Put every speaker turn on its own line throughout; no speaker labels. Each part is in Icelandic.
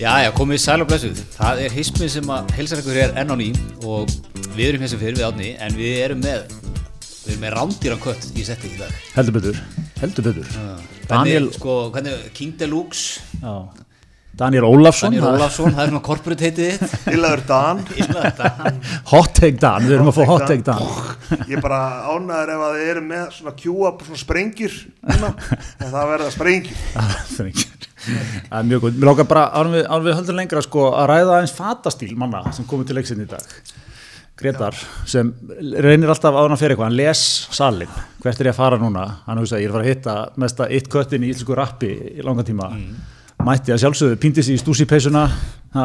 Jæja, komið sæl og blessuð. Það er hismið sem að heilsar ykkur hér enn á ný og við erum hér sem fyrir við átni en við erum með, við erum með rándýran kött í setti í dag.
Heldur betur, heldur betur.
Daniel,
Daniel,
sko, hvernig, King Deluxe,
já, Daniel Ólafsson,
Daniel
það-
Ólafsson, það er svona corporate heitið þitt.
Illaður Dan
Illa þetta.
hot take Dan, við erum að fá hot
Hot
take
take
Dan.
Ég er bara ánæður ef að þið eru með svona Q-up, svona sprengjur núna. En það verða sprengjur
Það er ekki- það er mjög góð. Mér lókar bara, ánum við, ánum við höldum lengra sko, að ræða aðeins fatastíl manna sem komið til leiksinni í dag. Gretar, sem reynir alltaf áðan að fyrir eitthvað, hann les salin, hvert er ég að fara núna? Hann hugsaði, ég er að fara að hitta mesta eitt köttin í íslensku rappi í langan tíma. Mætti að sjálfsögðu, pýndi sér í stúsipeysuna, ha,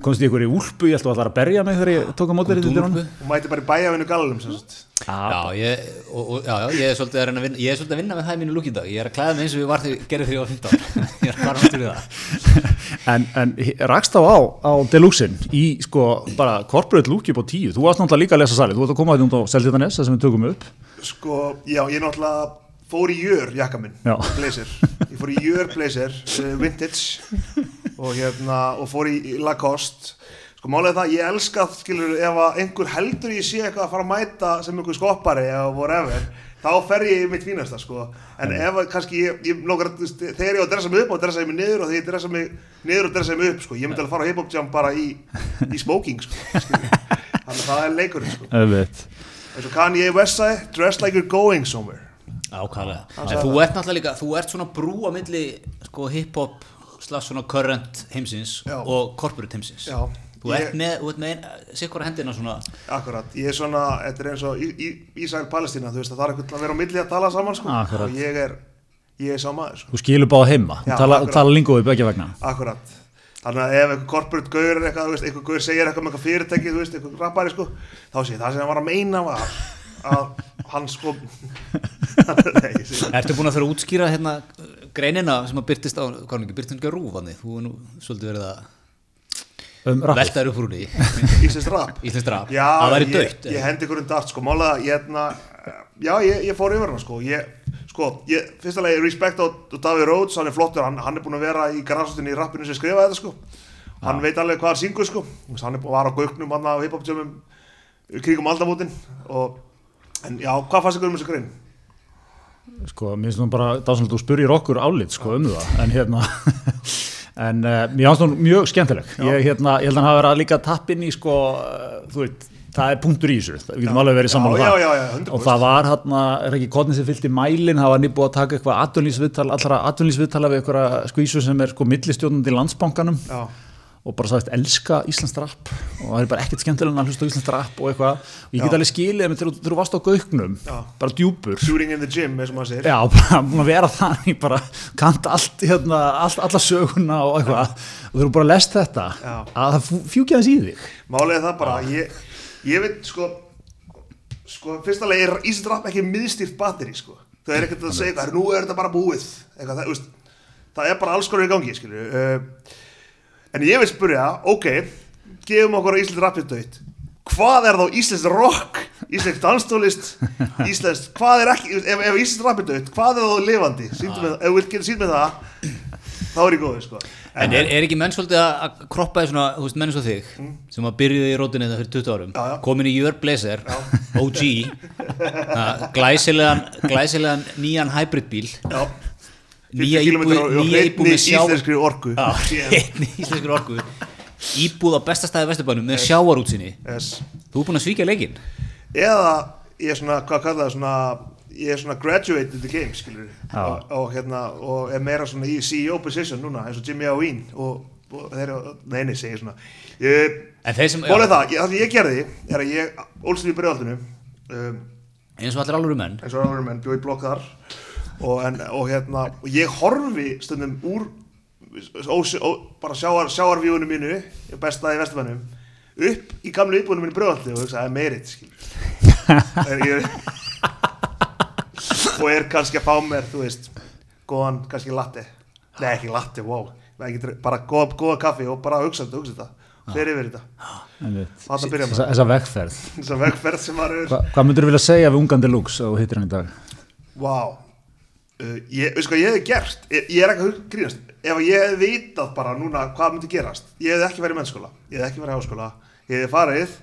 komst í einhverju úlpu, ég held að það var að berja mig þegar ég tók á mótverið til honum.
Og mæti bara í bæjafinu gallinum sem sagt.
Já, ég, og, og, já, já, ég er svolítið að reyna að vinna, ég er svolítið að vinna með það í mínu lúk í dag. Ég er að klæða mig eins og ég var þegar, gerði þegar ég var 15. Ég er að fara áttur í það.
en, en rakst þá á, á Deluxin í sko bara corporate look upp á tíu, þú varst náttúrulega líka að lesa salið þú varst að koma að þetta út á Selditanes, það sem við tökum upp
Sko, já, ég náttúrulega fór í jör jakka minn
Já.
Blazer Ég fór í jör blazer, uh, vintage Og hérna, og fór í í Lacoste Sko, málega það, ég elska, skilur, ef að einhver heldur ég sé eitthvað að fara að mæta sem einhver skoppari eða whatever þá fer ég í mitt fínasta, sko en ef að kannski, ég, ég lókar að, þú veist, þegar ég á að dressa mig upp og dressa ég mig niður og þegar ég dressa mig niður og dressa mig upp, sko, ég myndi alveg fara á hip-hop jam bara í, í smoking, sko skilur. þannig að það er leikurinn, sko
Öfitt.
eins og Kanye West sagði dress like you're going somewhere
Ákvæðlega. En þú ert náttúrulega líka, þú ert svona brú á milli sko, hip-hop slags svona current heimsins
Já.
og corporate heimsins.
Já.
Þú ert
Ég-
með, þú ert með ein- sikkvara hendina svona,
akkurat, ég er svona, þetta er eins og Í- Í- Ísrael Palestína, þú veist að það er eitthvað að vera á milli að tala saman sko,
Akkurat.
og ég er ég er sá maður, sko,
þú skilur báða heima,
Já,
þú tala,
akkurat.
tala lingóið begge vegna
akkurat þannig að ef einhver corporate gaur er eitthvað, þú veist, einhver gaur segir eitthvað með eitthvað fyrirtæki, þú veist, einhver rappari sko, þá sé ég það sem hann var að meina var að hann sko nei, ég sé
ertu búin að fyrir að útskýra hérna uh, greinina sem að byrtist á, hvað er hún ekki, byrtist hún ekki að rúfani, þú er nú svolítið verið að
um, rappið.
velta þér upp úr húnni,
Íslands rap
íslenskt draf,
Já,
það væri
ég-
dött.
Ég hendi ykkur um dart, sko, málega, ég hérna, já, ég, ég fór yfir hana, sko, ég, sko, ég, fyrsta lagi, respect á á Davíð Rhodes, hann er flottur, hann, hann er búinn að vera í græsutinni í rappinu sem skrifaði þetta, sko, hann veit alveg hvað hann syngur, sko, Þú veist, hann er búinn var á gaugnum, hann á hip-hop-tjömmum, kringum aldamótin, og, en já, hvað fannst ykkur um þessu grein?
sko, mér finnst nú bara dásanlega þú spurðir okkur álit sko um það, en hérna en uh, mér finnst hún mjög skemmtileg ég, hérna, ég held að hann hafa verið að líka tappin í sko, uh, þú veit, það er punktur í þessu það- við getum alveg verið
Já,
saman
já,
það
já, já, 100%.
og það var hann, er ekki kodni sem fylgdi mælin, það var nýbúið að taka eitthvað atvinnlýsviðtal, allra atvinnlýsviðtala við einhverja skvísu sem er sko millistjónandi í landsbankanum
Já.
og bara sagðist elska Íslands rap og það er bara ekkert skemmtilega en að hlusta á Íslands rap og eitthvað, og ég get
Já.
alveg skilið þegar þú- þegar þú varst á gaugnum,
Já.
bara djúpur
Shooting in the gym, eins og maður segir.
Já, bara búin að vera þannig bara kanta allt, hérna, allt, alla söguna og eitthvað og þú eru bara að lest þetta
Já.
að það fjúkja þess í þig
Málega það bara, ég, ég veit sko, sko, fyrsta leið er Ísland Rapp ekki miðstýrt batteri sko. Það er ekkert að segja eitthvað, nú er þetta bara búið, eitthvað, það, þú veist, það er bara alls konar í gangi, skilju. Uh, en ég vil spyrja, ok, gefum okkur að Ísland Rapp er dött, hvað er þá Íslands rock, Íslands danstólist, Íslands, hvað er ekki, ef, ef Íslands Rapp er dött, hvað er þá lifandi, sýndu með, ef þú vilt geta sýnd með það, þá er ég góðið sko.
En er, er ekki menn svolítið að- að kroppa í svona, þú veist, menn eins og þig, sem að byrjuði í rótinni þetta fyrir 20 árum,
Mm. Já, já.
komin í Jör Blazer, OG, að glæsilegan, glæsilegan nýjan hybridbíl,
Já.
nýja
50 kílómetrar
íbúð,
og
nýja íbúð
hreinni
með sjá...
íslenskri orku.
Já,
Síðan.
hreinni íslenskri orku. Íbúð á bestastæði Vesturbænum með sjávarútsinni.
Yes.
Þú er búinn að svíkja leikinn.
eða ég er svona, hvað kallað það svona ég er svona graduated the game skilur
Já.
og, og hérna og er meira svona í CEO position núna eins og Jimmy Owen og, og þeir eru, neini segir svona ég,
En þeir sem,
mólið það, ég, það sem ég gerði er að ég, Olsson í Breiðaldinu um,
eins og allir alvöru menn,
eins og annar menn bjóð í blokk þar og, en, og hérna og ég horfi stundum úr ó, ó, bara sjáar, sjáarvíunum mínu bestaði í vestumennum upp í gamlu íbúinum mínu brjóðaldi og hugsa það er meiritt er, ég, og er kannski að fá mér þú veist, góðan kannski latte nei ekki latte, wow Nei, ekki dre- bara góða, góða kaffi og bara hugsa þetta hugsa þetta, fer yfir þetta þarna byrja
þessa,
maður
þessa vegferð
þess að vegferð sem maður er
Hva, hvað myndur þú vilja segja við ungan deluxe og hittir hann í dag?
Vá uh, ég, veist hvað ég hefði gert ég, ég er ekki að grínast ef að ég hefði vitað bara núna hvað myndi gerast ég hefði ekki verið í mennskóla, ég hefði ekki verið í háskóla ég hefði farið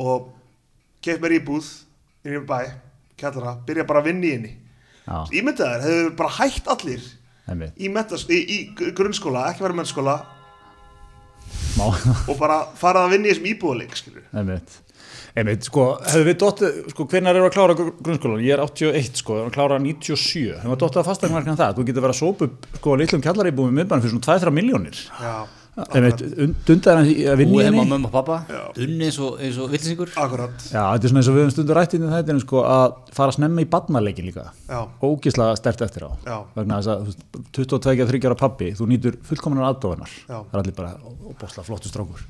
og keitt mér íbúð inn í bæ, kjallara, byrja bara að vinna í henni
Já,
ímyndaðar, hefðu bara hætt allir
einmitt.
í, mentas, í, í gr- grunnskóla, ekki verið í mennskóla
Má,
og bara farið að vinna í þessum íbúðuleik skilur
einmitt. Einmitt, sko, hefðu við dóttið, sko, hvenær eru að klára gr- grunnskólan? Ég er 81, sko, erum að klára 97. Hefðu að dóttið að fastegna það? Þú getur verið að sópa upp, sko, litlum kjallaríbúum í miðbænum fyrir svona 2-3 miljónir.
Já,
Einmitt, dundaðar hann í að vinna í
Búið heima á
henni.
mömmu og pappa,
Já.
dunni eins og, eins og villisingur.
akkurat
Já, þetta er svona eins og við höfum stundur rætt inn í þetta, sko, að fara snemma í badnaleikin líka.
Já,
ógislega stert eftir á
Já.
vegna þess að þú veist, 22-23 ára pappi þú nýtur fullkomnar aðdóðunar
Já. Mhm.
það er allir bara óbóðslega flottu strákur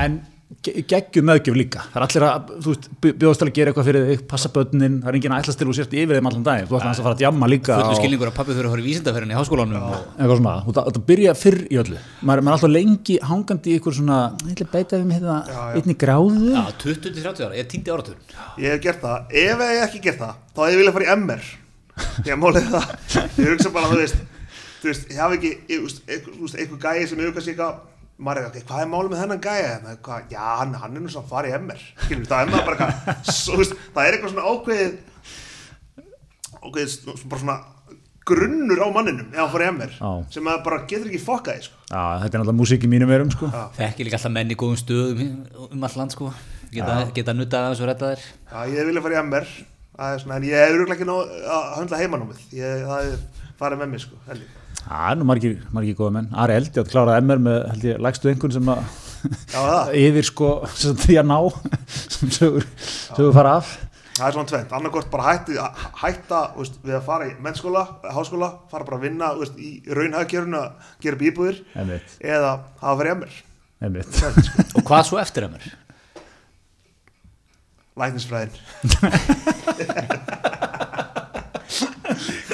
en ge- geggjum meðgjöf líka það er allir að, þú veist, bjóðast til að gera eitthvað fyrir þig passa börnin, það er enginn að ætlast til og sért yfir þeim allan daginn, þú ætlar hans að fara að djamma líka
Fullu
á-
skilningur að pappi þurfa að fara í vísindaferðin í háskólanum. og-
eitthvað svona, þú þarft að byrja fyrr í öllu maður, maður er alltaf lengi hangandi í eitthvað svona ég ætla að beita við með
Já,
það
já.
einni gráðu
Já, 20-30 ára, ég týndi áratur.
ég hef gert það Ef ég hef ekki gert það, þá hef ég viljað fara í MR Ég málið það Ég hugsa bara, þú veist Þú veist, ég haf ekki, ég, veist, einhver, þú veist, einhver gæi sem hefur kannski eitthvað maður er ekki, hvað er málið með þennan gæja hérna? Hvað- já, hann, hann er nú svo að fara í MR Skilur, það er maður bara eitthvað svo, þú veist, það er eitthvað svona ákveðið ákveðið, svona- svona- bara svona grunnur á manninum ef hann fara í MR
Já.
sem maður bara getur ekki fokkaði sko.
Já, þetta er alltaf músík í mínum verum sko.
Já.
Þekki líka alltaf menn í góðum stöðum um all land, sko. Geta, geta nuttað aðeins og rettað þér.
Já, ég vilja fara í MR það er svona, en ég hef örugglega ekki nóg að höndla heimanúmið ég, það er farið með mér sko heldig.
Það er nú margir, margir góða menn. Ari Eldjátt kláraði MR með, held ég, lægstu einhvern sem að
Já, það.
yfir sko sem því að ná sem sögur, sögur fara af.
það er svona tvent, annarkort bara hætti, hætta þú veist, við að fara í mennskóla, háskóla fara bara að vinna þú veist, í raunhagkjörun að gera upp íbúðir
Einmitt,
eða hafa farið í MR
einmitt.
sko.
Og hvað svo eftir að mér?
læknisfræðin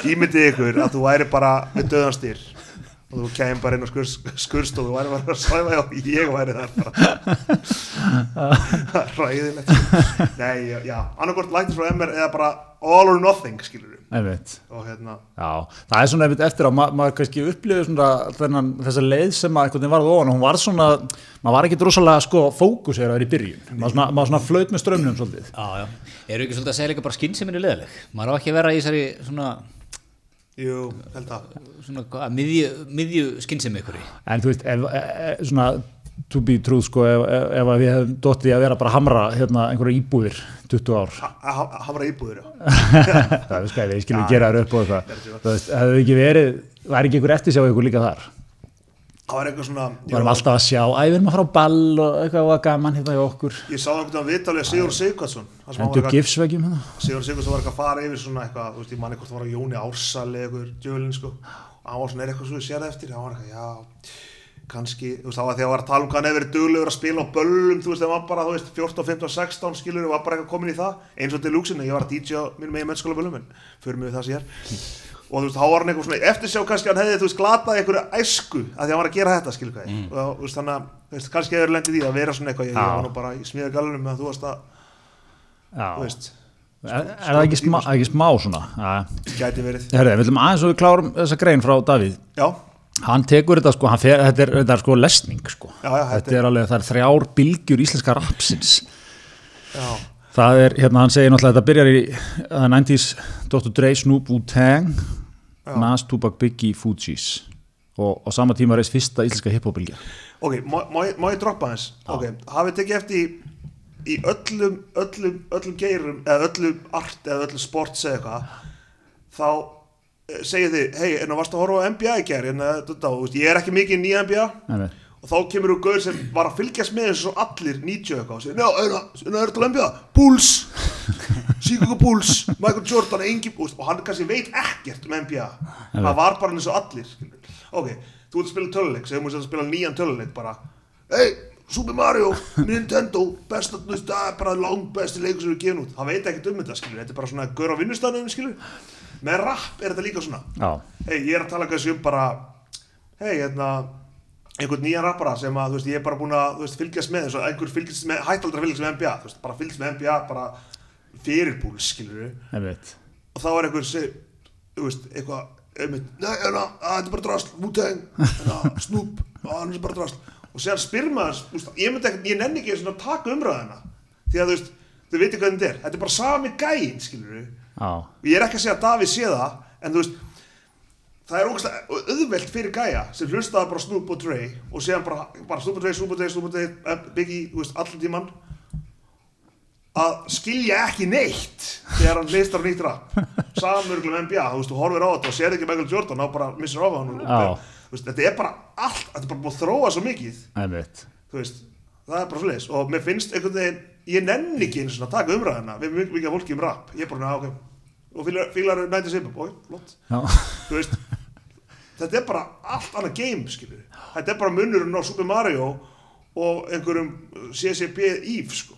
Ímyndið ykkur að þú væri bara með döðanstýr og þú kemur bara inn á skurst, skurst og þú væri bara að svæfa og ég væri þar bara ræðilegt Nei, já, já annarkort læknisfræði MR eða bara all or nothing skilur við
einmitt.
og hérna,
Já, það er svona einmitt eftir að ma maður kannski upplifið svona þennan, þessa leið sem að einhvern veginn varð ofan og hún var svona, maður var ekki drosalega sko fókuseraður í byrjun, maður svona, maður svona flöt með strömmnum svolítið.
Já, já. Eru ekki svolítið að segja líka bara skynnsemin er leðileg? Maður á ekki að vera í þessari svona,
jú, held að
svona hvað, miðju, miðju skynnsemi ykkur í.
En þú veist, ef, e, e- svona to be true sko, ef, ef, ef að við hefum dottið í að vera bara að hamra hérna einhverja íbúðir 20 ár
að ha- hafa íbúður já
það er skæðið, ég skilur gera þér upp og eitthvað þú veist, það hefur ekki verið, væri ekki ykkur eftir sjá ykkur líka þar,
það var eitthvað svona
við varum alltaf að sjá æ, við erum að fara á ball og eitthvað og gaman hérna hjá okkur,
ég sá einhvern veginn vitalið Sigur Sigvarsson þar sem hann var
endur
eitthvað-
gifsveggjum hérna
Sigur Sigurðsson var eitthvað að fara yfir svona eitthvað, þú veist, ég manni hvort það var Jóni Ársali eitthvað, djölin, sko og hann var svona, er eitthvað svo ég sér það eftir, hann var eitthvað, já kannski, þú veist, það var því að hann var að tala um hvað hann hefur verið duglegur að spila á böllum, þú veist, það var bara, þú veist, 14, 15, 16 skilur, og var bara eitthvað komin í það, eins og til lúksinu, ég var að DJ á mínum eigin mennskóla böllum, en fyrir mig við það sér og þú veist, þá var hann eitthvað svona, eftir sjá kannski hann hefði, þú veist, glatað einhverju æsku að því að hann var að gera þetta, skilur hvað, mm. og þú veist, þannig að, þú veist, kannski hefur lendið í því að vera svona eitthvað, ég, ég
Já.
var nú bara í smíðagalunum að þú varst að, þú
Já.
veist, sko,
er er það ekki smá, ekki smá svona Æ.
gæti verið,
herri, við viljum aðeins og við klárum þessa grein frá Davíð
já,
hann tekur þetta sko, hann fer, þetta, er, þetta er sko lesning sko,
Já, já, þetta
þetta er alveg það er þrjár bylgjur íslenska rapsins
Já,
það er, hérna hann segir náttúrulega þetta byrjar í uh, 90s, Dr. Dre, Snoop, Wu-Tang Nas, Tupac, Biggie, Fugees og á sama tíma reist fyrsta íslenska hiphopbylgja
ok, má, má, ég- má ég droppa hans? Ok, hafið tekið eftir í, í öllum, öllum, öllum geirum eða öllum art eða öllum sports eða eitthvað þá eh, segið þið, hei, en þú varst að horfa á NBA í gær en þetta, þú veist, ég er ekki mikið ný NBA
Einmitt.
og þá kemur þú gaur sem var að fylgjast með þessu og allir 90 eitthvað og segir, njá, en það er til NBA Bulls, Chicago Bulls Michael Jordan, engi, og og hann kannski veit ekkert um NBA hann var bara eins og allir skilur. ok, þú ert að spila töluleik segjum við að spila nýjan töluleik bara hei, Super Mario, Nintendo besta, þú veist, það er bara langt besti leikur sem við gefum út, hann veit ekkert um þetta skilur þetta er bara svona gaur á vinnustæðinu skilur með rap er þetta líka svona
Já,
hei, ég er að tala kannski um bara hei, hérna einhvern nýjan rappara sem að, þú veist, ég er bara búin að þú veist, fylgjast með, eins og einhver fylgjast með hættaldra fylgjast með NBA, þú veist, bara fylgjast með NBA bara fyrirbúl, skilur
einmitt
og þá er einhver sem þú veist, eitthvað einmitt, nei, hérna, að, þetta er bara drasl, Wu-Tang hérna, Snoop, að, hann er bara drasl og sér spyr maður, þú veist, ég myndi ekkert ég nenni ekki svona að taka umræðina því að þú veist, þau veitir hvað þetta er þetta er bara sami gæinn, skilur
Já,
og ég er ekki að segja að Davíð sé það en þú veist það er ógæslega auðvelt fyrir gæja sem hlustaði bara Snoop og Dre og séðan bara, bara Snoop og Dre, Snoop og Dre, Snoop og Dre eh, Biggie, þú veist, allan tíman að skilja ekki neitt þegar hann listar nýtt rap um samurglum NBA, þú veist, þú horfir á þetta og sér ekki Michael Jordan á bara missir of hann
Já.
og, þú veist, þetta er bara allt, þetta er bara búið að þróa svo mikið
einmitt
þú veist, það er bara sliðis og mér finnst einhvern veginn, ég nenni ekki eins og að taka umræðina, við erum mjög mikið af fólki um rap ég er bara, "Já, ok, og fílar- fílar eru 90s hip-hop, ok, flott,
Já,
þú veist þetta er bara allt annað game, skilur þetta er bara munurinn á Super Mario og einhverjum CCP Eve, sko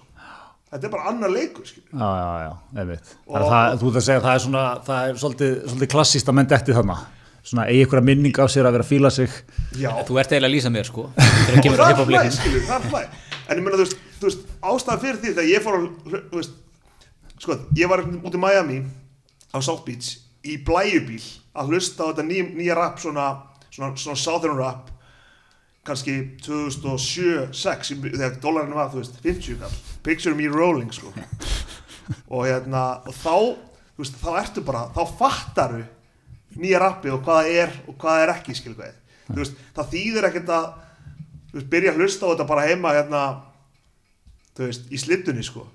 þetta er bara annar leikur, skilur
já, já, já einmitt Það er
Og-
það, þú ert að segja, það er svona það er svolítið, svolítið klassíst að menn detti þarna svona eigi ykkur að minning af sér að vera að fíla sig
já,
Þú ert eiginlega að lýsa mér sko Þegar
og
kemur að
það er
hip-hop
flæð,
leikin
skilur, það er flæð en ég meina, þú veist, þú veist ástæðan fyrir því þegar ég fór að, hl- þú veist sko, ég var út í Miami á South Beach í blæjubíl að hlusta á þetta ný, nýja rap svona, svona, svona southern rap kannski 2007-06 þegar dólarinn var, þú veist, 50 kall picture me rolling, sko og hérna, og þá þú veist, þá ertu bara, þá fattaru nýja rappi og hvað það er og hvað það er ekki, skil hvað
Mm.
þú veist, það þýðir ekkert að þú veist, byrja að hlusta á þetta bara heima hérna, þú veist, í slittunni sko,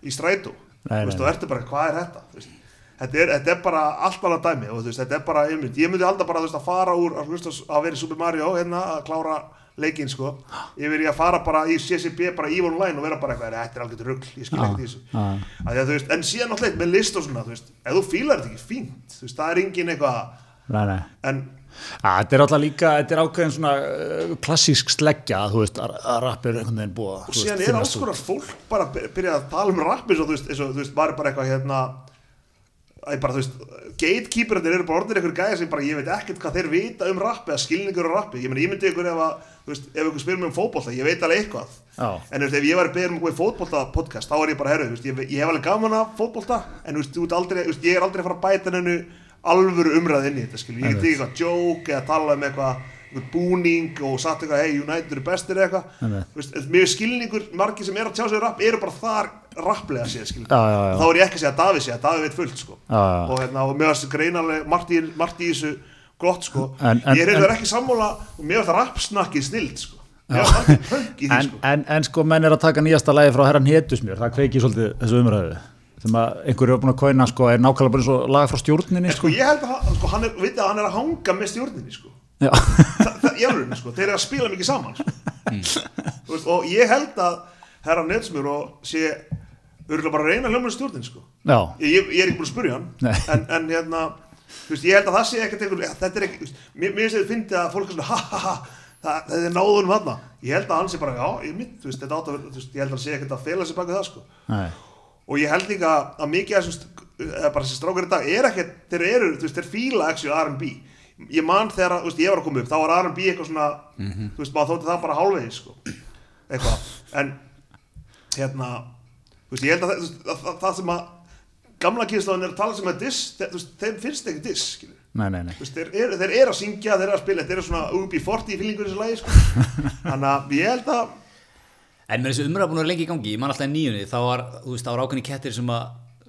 í strætó
Nei,
þú veist,
nei,
og ertu bara, hvað er þetta Þú veist, þetta er, þetta er bara allt annað dæmi og þú veist, þetta er bara, einmitt, ég myndi alltaf bara þú veist, að fara úr að, hlusta, á- að vera í Super Mario hérna að klára leikinn sko yfir í að fara bara í CCP bara í online og vera bara eitthvað, þetta er algjörð rugl ég skil ekkert í þessu
já.
Af því að, þú veist, en síðan náttúrulega með list og svona, þú veist, ef þú fílar þetta ekki fínt, þú veist, það er engin eitthvað
nei, nei
en
Að, þetta er alltaf líka, þetta er ákveðin svona uh, klassísk sleggja, þú veist, að, að rapp er einhvern veginn búa.
og síðan er alls konar fólk bara að byrja að tala um rapp eins og þú veist, eins og, þú veist maður er bara eitthvað hérna Æ, bara, þú veist, gatekeeperarnir eru bara orðinir einhver gæja sem bara ég veit ekkert hvað þeir vita um rappi eða skilningur á rappi, ég meni ég myndi ykkur ef að þú veist, ef ykkur spyrir mig um fótbolta, ég veit alveg eitthvað
Já.
en þú veist, ef ég var að beða um eitthvað fótbolta podcast, þá er ég bara herru, þú veist, ég, ég hef alveg gaman af fótbolta en þú veist, þú ert aldrei, þú veist, ég er aldrei að fara að bæta nennu alvöru umræð inn í þetta skilur, ég get ekki eitthvað joke eða tala um eitthvað eitthvað búning og satt eitthvað hey, United eru bestir eða eitthvað
Einmitt.
Þú veist, mér finnst skilningur, margir sem er að tjá sig um rapp eru bara þar rapplega séð skilur
Já, já, já.
þá er ég ekki að segja að Davíð segja, Davíð veit fullt sko.
Já, já.
og hérna, og mér varst greinarlega margt í, margt í þessu gott sko.
En- en-
ég er
en-
hefur ekki sammála og mér varst rappsnakkið snild sko. mér varst ekki pönk í því
En,
sko.
en, en sko, menn er að taka nýjasta lagi frá herran Hetusmjör, það kveiki svolítið þessu umræðu. Sem að einhverju er búin að kóina, sko, er nákvæmlega bara eins og laga frá stjórninni,
en
sko.
sko ég held að hann- sko, hann er, veit að hann er að hanga með stjórninni sko.
Já,
Þa, það, í alveg, sko. þeir eru að spila mikið saman sko.
Hmm.
Þú veist, og ég held að herra Netsmur og sé örgulega bara að reyna hljóma stjórnin sko.
já,
ég, ég, ég er ekki búin að spyrja
Nei.
hann en, en hérna, þú veist, ég held að það sé ekkert einhver, ja, þetta er ekki, þú veist, mér, mér finnst þetta að fólk er svona, ha ha ha það, það er náðunum hann, ég held að hann sé bara já, ég mynd, þú veist, þetta átt að, vera- þú veist, ég held að hann sé ekkert að fela sig baka það, sko
nei,
og ég held líka að mikið af þessum st- eða bara þessi strákar í dag er ekkert þeir eru, þú veist, þeir fíla actually R&B ég man þegar, að, þú veist, ég var að koma upp þá var R&B eitthvað svona, þú veist, maður þótti það bara hálfvegis, sko, eitthvað en, hérna þú veist, ég held að, það- þú veist, að, að, það sem að gamla kynslóðin er að tala sem að diss, þe- þú veist, þeim finnst ekki diss, skilur
nei, nei, nei.
Þú veist, þeir, eru, þeir eru að syngja, þeir eru að spila þeir eru svona UB40 í fílingur þessu lagi sko. þannig að ég held að
En með þessu umræða búin að vera lengi í gangi, ég man alltaf í nýjunni, þá var, þú veist, þá var ákveðni kettir sem að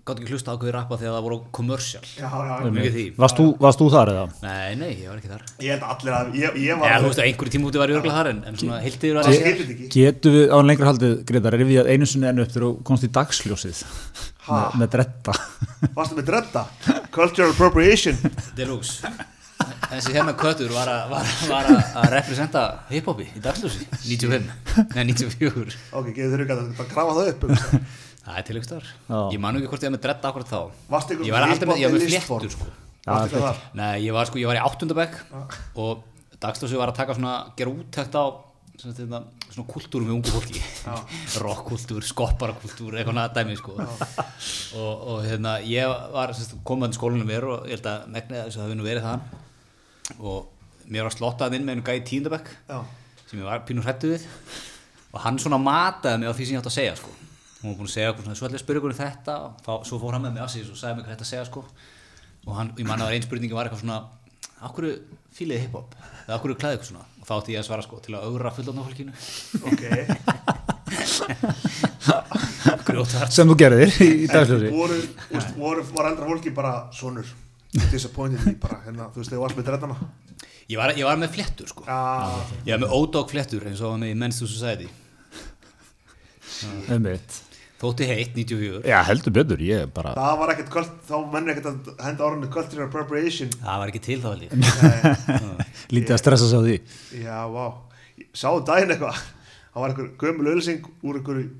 gátt ekki hlusta ákveði rappa þegar það voru commercial.
já, já,
Mikið því.
Varst þú, varst þú þar eða?
Nei, nei, ég var ekki þar.
ég held að allir að ég, ég var
Eða, þú veist, á einhverju tíma úti var ég örgulega þar, en, en svona heiltið var
það
ekki.
skilur þetta ekki
Getum við á lengra haldið, Gretar, er við að einu sinni enn upp þegar þú komst í dagsljósið
Ha?
með, með dretta?
Varstu með dretta? Cultural appropriation
Deluxe. Þessi hérna köttur var að, var, var að- að representa hiphopi í dagsljósi. 95. Nei, 94.
Ok, getur þurru ekki að bara grafa það upp hugsa.
Það er tilögstar.
Já.
Ég man nú ekki hvort ég var með dretta akkurat þá.
Varstu ykkur
Ég var alltaf með, ég var með
listform?
fléttur, sko.
Varstu ekki
þetta-
þar?
Nei, ég var sko, ég var í áttundabæk og dagsljósið var að taka svona, gera úttækt á svona, svona, svona kultúrum við ungu fólki rockkultúr, skopparkultúr eitthvað annað dæmi sko og, og hérna, ég var sérst, komandi skólinu mér og ég held að megna þess að það hafi nú verið þaðan og mér var slottað inn með einu gæði tíundabæk
Já.
sem ég var pínur hrættu við og hann svona mataði mig á því sem ég átt að segja sko hún var búin að segja okkur svona, svo ætla ég að spyrja okkur um þetta og þá, svo fór hann með mig á sig og sagði mér hvað þetta að segja sko og hann, ég man að það var einn spurningi var eitthvað svona Akkur fílið hiphop? Eða akkur klæði eitthvað svona? Og þá átti ég að svara sko til að augra fullofna fólkinu
ok,
Grjótar
sem þú gerðir í, í
En
dagsljósi
voru, úst, voru, var andra fólki bara sonur, disappointed me bara, hérna, þú veist, þegar þú varst með dreddana
ég var, ég var með flettur sko
ah,
Ég var með ódók flettur eins og hann í Men's to Society
Einmitt.
Þótti heitt 94
já heldur betur ég bara
það var ekkert kvöld, þá mennir ekkert að henda orðinu cultural appropriation
Það var ekki til þá alveg
lítið að stressa sig á því
já, vá, Ég sá um daginn eitthvað það var einhver gömul ölsing úr einhverju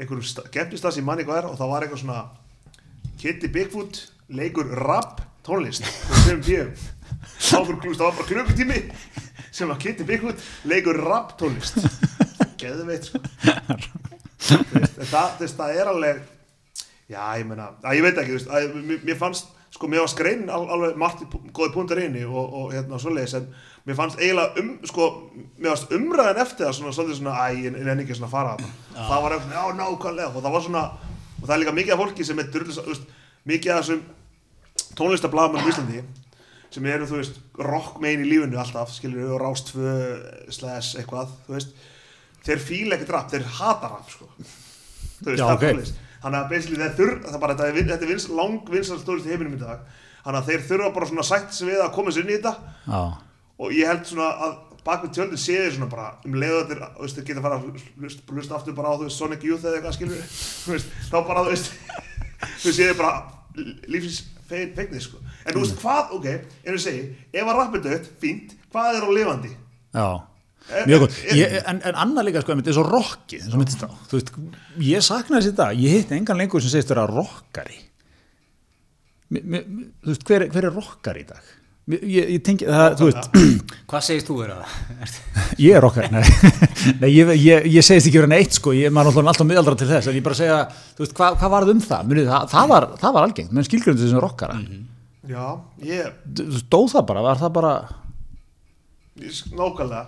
einhverju gefnistast í manni hvað er og það var eitthvað svona Kitty Bigfoot leikur rap tónlist og sem fjöum áfyrir klúst, það var bara klukkutími sem var Kitty Bigfoot leikur rap tónlist geðveitt sko Þú veist, en það, þú veist, það er alveg já, ég meina, að, ég veit ekki þú veist, að, mér, mér fannst, sko, mér var skrein al, alveg margt í pú- góði púntar inni og, og hérna svoleiðis, en mér fannst eiginlega um, sko, mér fannst umræðan eftir það svona, svolítið svona, æ, ég ég nenni ekki svona að fara þarna. það var eitthvað, já, nákvæmlega og það var svona, og það er líka mikið af fólki sem er drullis, þú veist, mikið af þessum tónlistablaðmennum í Íslandi sem eru, þú veist, rock megin í lífinu alltaf, skilur við, og rástfö slash eitthvað, þú veist þeir fíla ekkert rap, þeir hata rap, sko þú veist,
Já,
það
ok.
er tónlist þannig að basically þeir þurr, það er bara þetta er, vin- þetta er vins, lang vinsalst tónlist í heiminum í dag þannig að þeir þurfa bara svona sætt sem við að koma sér inn í þetta
já
og ég held svona að bak við tjöldin séu þeir svona bara um leiðu þeir, þú veist, þeir geta fara að lust, lust aftur bara á þú veist, Sonic Youth eða eitthvað skilur þú veist, þá bara, þú veist þú séu þeir bara lífsins fegnir, sko en þú veist, hvað, ok, en við segi ef að rappið dött, fínt, hvað er á lifandi
Já,
En-
mjög góð.
en-
Ég- En, en annað líka, sko, einmitt, eins og rocki, eins og mittist á. Þú veist, ég saknaði þessi í dag. Ég hitti engan lengur sem segist vera rockari. Mi- mi- mi- Þú veist, hver, er- hver er rockari í dag? Mi- Ég, ég tengi, það, þú veist,
Hvað segist þú vera það?
ég er rockari, nei, nei ég, ég, ég segist ekki vera neitt, sko, ég maður náttúrulega alltaf miðaldra til þess, en ég bara segja, þú veist, hvað, hvað varð um það? Munið, það, það, var, það var algengt, menn skilgröndu þessum rockara. Mm -hmm.
já, ég,
Stóð það bara, var það bara,
ég nákvæmlega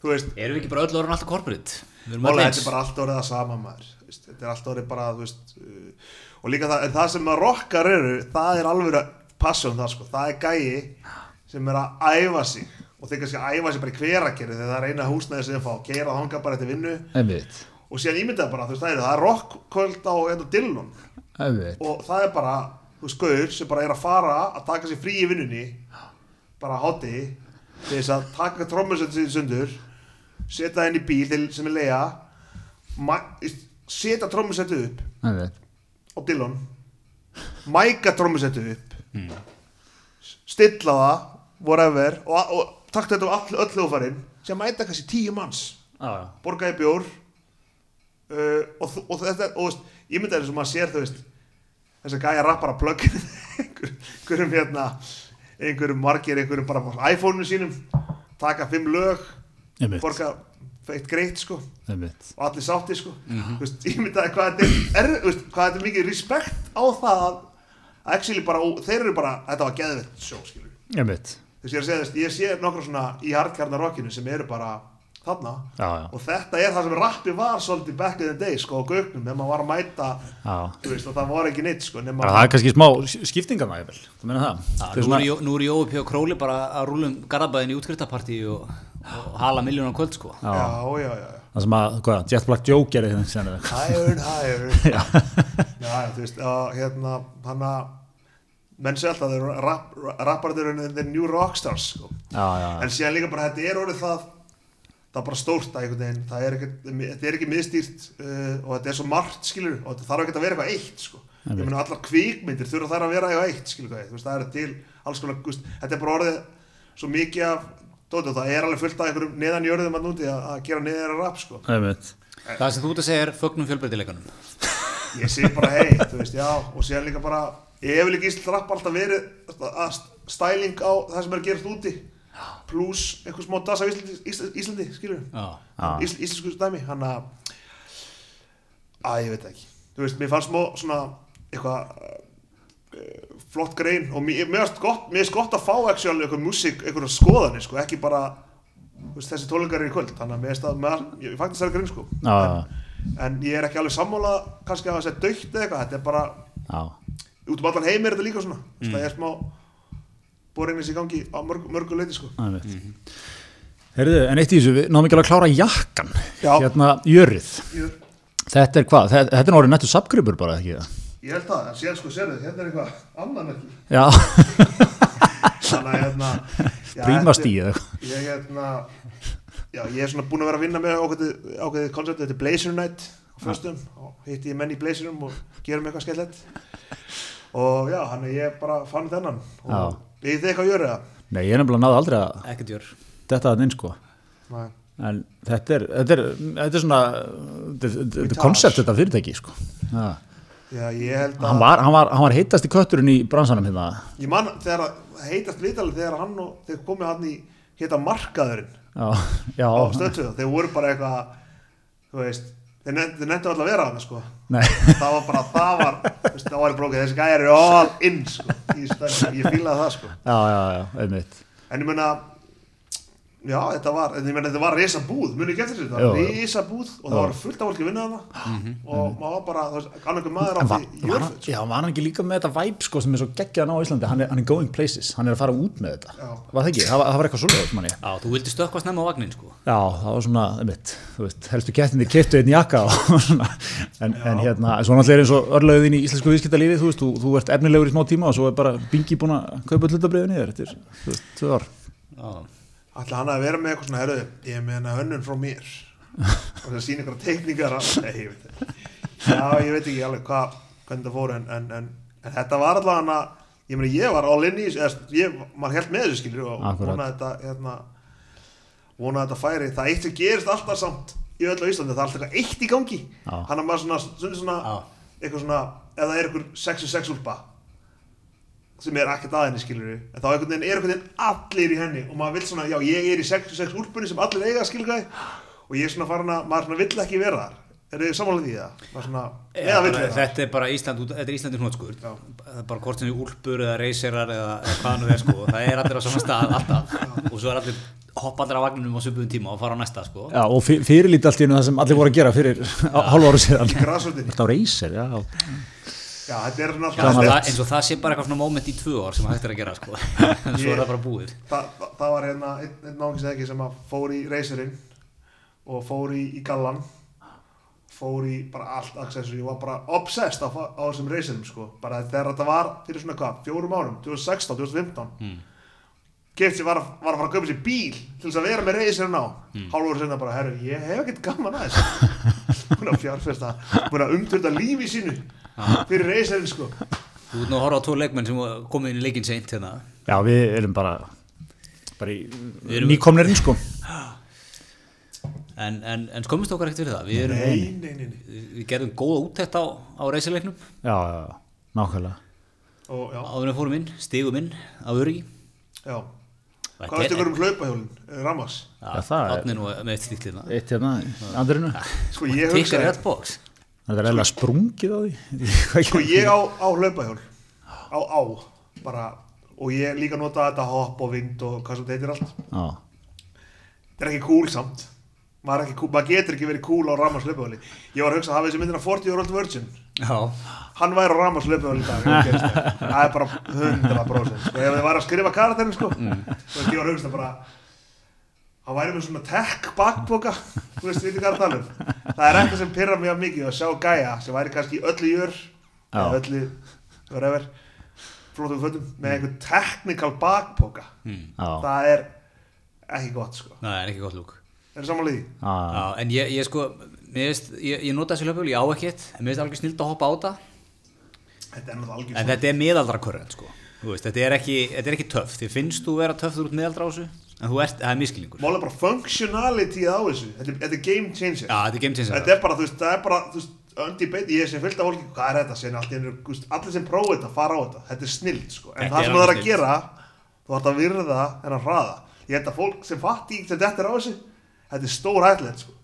þú veist,
Erum við ekki bara öll orðin alltaf corporate? Við erum öll
Málega,
eins
þetta er bara allt orðið að sama maður þú veist, þetta er allt orðið bara þú veist, uh, og líka það, en það sem að rockar eru það er alveg að passa um það sko. það er gæi sem er að æfa sig og þeir kannski að æfa sig bara í hverakerri þegar það er eina húsnæði sem þeir fá keira og hanga bara eftir vinnu
einmitt,
og síðan ímyndaði bara, þú veist, það eru, það er rockkvöld á hérna, Dillon
einmitt,
og það er bara, þú veist, gauður sem bara er að fara að taka sér frí í vinnunni bara hátti til þess að taka trommursett sér sundur setja henni í bíl til, sem er leiða setja trommursett upp
einmitt.
á Dillon mæka trommusettu upp stilla það whatever og, og takta þetta á all, öll hljóðfærin sem mæta kannski tíu manns
Já, já.
borgaði bjór uh, og, þú- og þetta og veist, ég myndi að þess að maður sér þú veist þess að gæja rappar að plugga inn einhver, einhverjum hérna einhverjum margir, einhverjum bara á iPhone-u sínum taka fimm lög
Einmitt.
borga eitt greitt sko
einmitt.
og allir sátti sko Þú veist, ég myndi að hvað þetta er, er þú veist, hvað þetta er mikið respekt á það að að actually bara, og þeir eru bara þetta var geðvett sjó skilur
Einmitt.
þess að ég er að segja þess, ég sé nokkra svona í hardkjarnarokkinu sem eru bara þarna
Já, já.
og þetta er það sem rappi var svolítið back in the day sko á gögnum nema var að mæta
Já.
þú veist að það var ekki neitt sko nema
Bara það er kannski smá skiptingarna ég vel, þú meina það?
Já,
það
Nú
er svona,
er, Jó- nú er Jói P. og Króli bara að rúlum garabæðin í útskrittapartí og, og hala miljónar kvöld sko
já,
já, já, já, já
það sem að, hvað, Jet Black Joe gerði hérna sem er
higher and higher já, já, þú veist, að, hérna hann að menn sér alltaf, þeir eru rap, rapparður en þeir new rockstars sko.
Já, já, já.
en síðan líka bara þetta er orðið það það er bara stórt að einhvern veginn það er ekki, þetta er ekki miðstýrt uh, og þetta er svo margt skilur og þetta þarf ekki að vera eitthvað eitt sko. ég meina allar kvikmyndir þurfa þær að vera eitthvað eitt skilur hvað ég, þú veist, það er til alls konar þú veist, þetta er bara orðið svo mikið af dóti og það er alveg fullt af einhverjum neðanjörðum að núti að að gera neðanjörðum rap sko.
einmitt,
Það sem þú ert að segja er fögnum fjölbreytileikanum
ég segi bara hei, þú veist, já og síðan líka bara, ég hefur líka íslensk rapp alltaf verið að- að stæling á það sem er að gerast úti pluss einhver smá das af Íslandi, Íslandi, Íslandi skilur
Já,
Já.
Ís, íslensku dæmi hann að að ég veit það ekki, þú veist, mér fannst smá svona eitthvað eh, flott grein og mér mér finnst gott, mér finnst gott að fá actual einhver músík, einhverja skoðanir sko, ekki bara þú veist, þessi tólingar eru í kvöld, þannig að mér finnst að mér, ég fætti þessari grein sko
Já, já, já.
en ég er ekki alveg sammála kannski að það sé dögt eða eitthvað, þetta er bara
já,
út um allan heim er þetta líka svona mm. það er smá boringlis í gangi á mörg, mörgu leiti sko
Það er mitt. Herðu, en eitt í þessu, við náðum ekki alveg að klára jakkan,
Já.
hérna jörið.
ég,
Þetta er hvað? Þe- Þetta er orðið nettur sapgripur bara, ekki það?
ég held það, en síðan sko sérðu hérna er eitthvað annan ekki
Já,
þannig að hérna já,
prímast
þetta-
í eða eitthvað.
ég hérna já, ég er svona búin að vera að vinna með ákveðið, ákveðið koncept, þetta er Blazer Night á föstum, og hitti ég menn í Blazerum og gerum eitthvað skellett og já, hann er ég bara fann þennan og við þið eitthvað að gjöra
Nei, ég er nefnilega náði aldrei að
ekkert jör
detta þannig inn, sko.
það
En þetta er, þetta er, þetta er svona, þetta er- þetta er koncept þetta fyrirtæki, sko. Já.
já, ég held
Hann
að
var, hann, var, hann var heitast í kötturinn í bransanum hérna.
ég man þegar að það heitast vitalið þegar hann og þeir komið hann í heita markaðurinn
Já, já.
á stöðtöðu, þeir voru bara eitthvað þú veist, þeir nefndu alltaf að vera hann sko
Nei,
það var bara, það var þú veist, það var í brókið, þessi gæjar eru all in sko, í stöðum, ég fílaði það sko
já, já, já, einmitt.
en ég meina já, þetta var, en ég meina þetta var risa búð muni ekki eftir þessu, það
Jú,
var
jú.
risa búð og það var fullt af fólki að vinna þarna og maður var bara, þú veist, annar einhver maður
En var,
átti
var, hann-
jörð,
já, var hann ekki líka með þetta væp sko, sem er svo geggjaðan á Íslandi, hann er, hann er going places hann er að fara út með þetta,
Já.
var það ekki? Það var, það var eitthvað svoleiðis manni
Já, þú vildi stökkva snemma á vagnin sko
Já, það var svona, einmitt, þú veist, helstu kettinni kettu einn jakka og svona en, en hérna, en svona allir eins og örlaðið þín í íslensku viðskiptalífi, þú veist, þú, þú ert efnilegur í smá tíma og svo er bara bingi búin að kaupa hlutabriðinni þér, þetta er, þú veist, tvö ár
Já,
ætla hann að vera með eitthvað svona herðu, ég meina hönnun frá mér og það sýn einhverja teikningar að, nei, ég veit ekki. já, ég veit ekki alveg hvað hvernig það fór en, en, en, en þetta var allavega hann að ég meina ég var all in í þessu, eða, ég, maður held með þessu skilur og
Akkurat.
vonaði þetta hérna, vonaði þetta færi það eitt sem gerist alltaf samt í öll á Íslandi það er alltaf eitthvað eitt í gangi
Já.
hann að maður svona, svona, svona
Já.
eitthvað svona, ef það er eitthvað 6-6 úlpa sem er ekkert aðeins skilur en þá einhvern veginn er einhvern veginn allir í henni og maður vil svona, já ég er í 66 úlpunni sem allir eiga skilur gæði og ég er svona farin að, maður svona vill ekki vera þar eru þið samanlega því það? Maður svona, eða vill
bara,
vera það?
þetta er bara Ísland, út- þetta er Íslandi hnótskur
Já.
það er bara hvort sem þið úlpur eða reyserar eða, eða hvað nú er sko það er allir á saman stað alltaf og svo er allir hoppa allir á vagninum á söpum tíma og fara á næsta sko
Já, og fyr- fyrirlíti allt í hennu það sem allir voru að gera fyrir hálf ára síðan
Grasrótin.
Þetta á reysir, já,
Já, þetta er svona
Já, eins, og
alltaf
það, eins og það sé bara eitthvað svona moment í tvö ár sem hægt er að gera sko en svo er það bara búið
það, það, það var hérna einn, einn náðingis ekki sem að fór í reyserinn og fór í, í gallan fór í bara allt accessory og var bara obsessed á, á þessum reyserum sko, bara þegar þetta var fyrir svona hvað, fjórum árum, 2016, 2015 mm. kefti var, að- var að fara að köpa sér bíl til þess að vera með reyserinn á mm. hálfur sinna bara, herru, ég hef ekkert gaman að þessu búin að fjárfesta búin að umtölda lífi sínu fyrir reyserinn sko
þú ert nú að horfa á tvo leikmenn sem komið inn í leikinn seint hérna
já, við erum bara, bara í,
erum-
nýkomnirinn, sko
en, en, en skömmist okkar ekkert fyrir það við, erum,
nei, nei, nei, nei
við við gerðum góða úttekt á, á reysileiknum
Já, já, já, nákvæmlega
og já,
áður en við fórum inn, stigum inn á öryggi
já
Þetta
Hvað
er-
veistu ykkur um hlaupahjólin, Ramas?
Já,
Já, það er-
það er nú með eitt slíkt hérna
Eitt hérna, andrinu
Sko ég
Tikkar
hugsaði,
Redbox
Það er eða sprungið á því
sko ég á, á hlaupahjól, á á, bara, og ég líka nota þetta hopp og vind og hvað sem þetta heitir allt.
Já,
Þetta er ekki cool samt, maður, er ekki, cool- maður getur ekki verið cool á Ramas hlaupahjóli. Ég var að hugsa að hafa þessi myndina 40 year old virgin,
Já,
hann væri á Ramas hlaupahjóli í dag, ef það gerist það. það er bara 100%, sko, ef þið væri að skrifa karakterin, sko, þú veist, ég var að hugsa bara, hann væri með svona tech bakboka þú veist, við hvað er að tala um það er eitthvað sem pyrra mjög mikið að sjá gæja sem væri kannski í öllu jör
Já.
eða öllu, whatever flóttum fötum, með einhver technical bakboka
já,
það er ekki gott sko
það er ekki gott lúk
er samanlega því?
já,
Já, en ég, ég sko, mér veist, ég, ég nota þessi hlöpul, ég á ekkert, en mér veist alveg snild að hoppa á það,
þetta er
en
náttúrulega algjör
þetta er miðaldra körrent, sko. Þú veist, þetta er ekki, þetta er ekki töff, þið finnst þú vera töff þú ert miðaldra á þessu, en þú ert, það er miskilningur. Já,
mála bara functionality á þessu þetta er, þetta er game changer
þetta er game changer.
þetta er bara, þú veist, það er bara þú veist, öndi beiti, ég sé fullt af fólki hvað er þetta, segir allt í einu, þú veist, allir sem prófa þetta fara á þetta, þetta er snild sko. en
Þetta
það
er
sem það er
alveg
að
snilld.
gera þú þarf að virða en að hraða ég held að fólk sem fatti sem þetta er á þessu þetta er stór ætlið sko.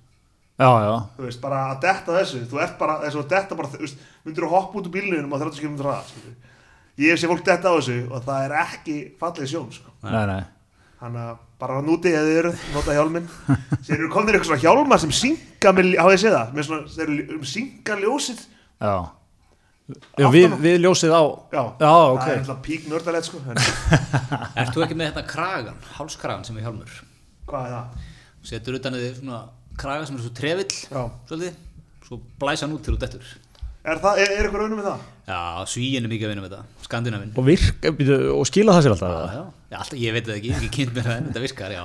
já, já.
þú veist, bara að detta þessu þú ert bara, þessu að detta bara, þú veist myndir að hoppa út úr bílunum á 30 km hraða skilur. ég sé fólk detta á þessu og það er ekki fallið sjón sko.
Nei, nei,
þannig að bara núti eða þið eru, nota hjálminn þeir eru komnir eitthvað svona um hjálmar sem synga með, hafa ég séð það, með svona, þeir eru synga ljósið
já Já, við, við ljósið á
Já,
já ok
það er alltaf pík nördalegt sko en,
Ert þú ekki með þetta kragan, hálskragan sem er hjálmur?
Hvað er það?
Setur utan að þið svona kraga sem er svo trefill,
Já.
svolítið, svo blæsa hann út til út eftir.
Er, það, er, er ykkur raunum með það?
Já, svíin er mikið að vinna með þetta, skandinavinn.
og virka, byrju, og skila það sér alltaf
Já,
já,
já, Já, alltaf, ég veit það ekki, ég hef ekki kynnt mér það en þetta virkar, já.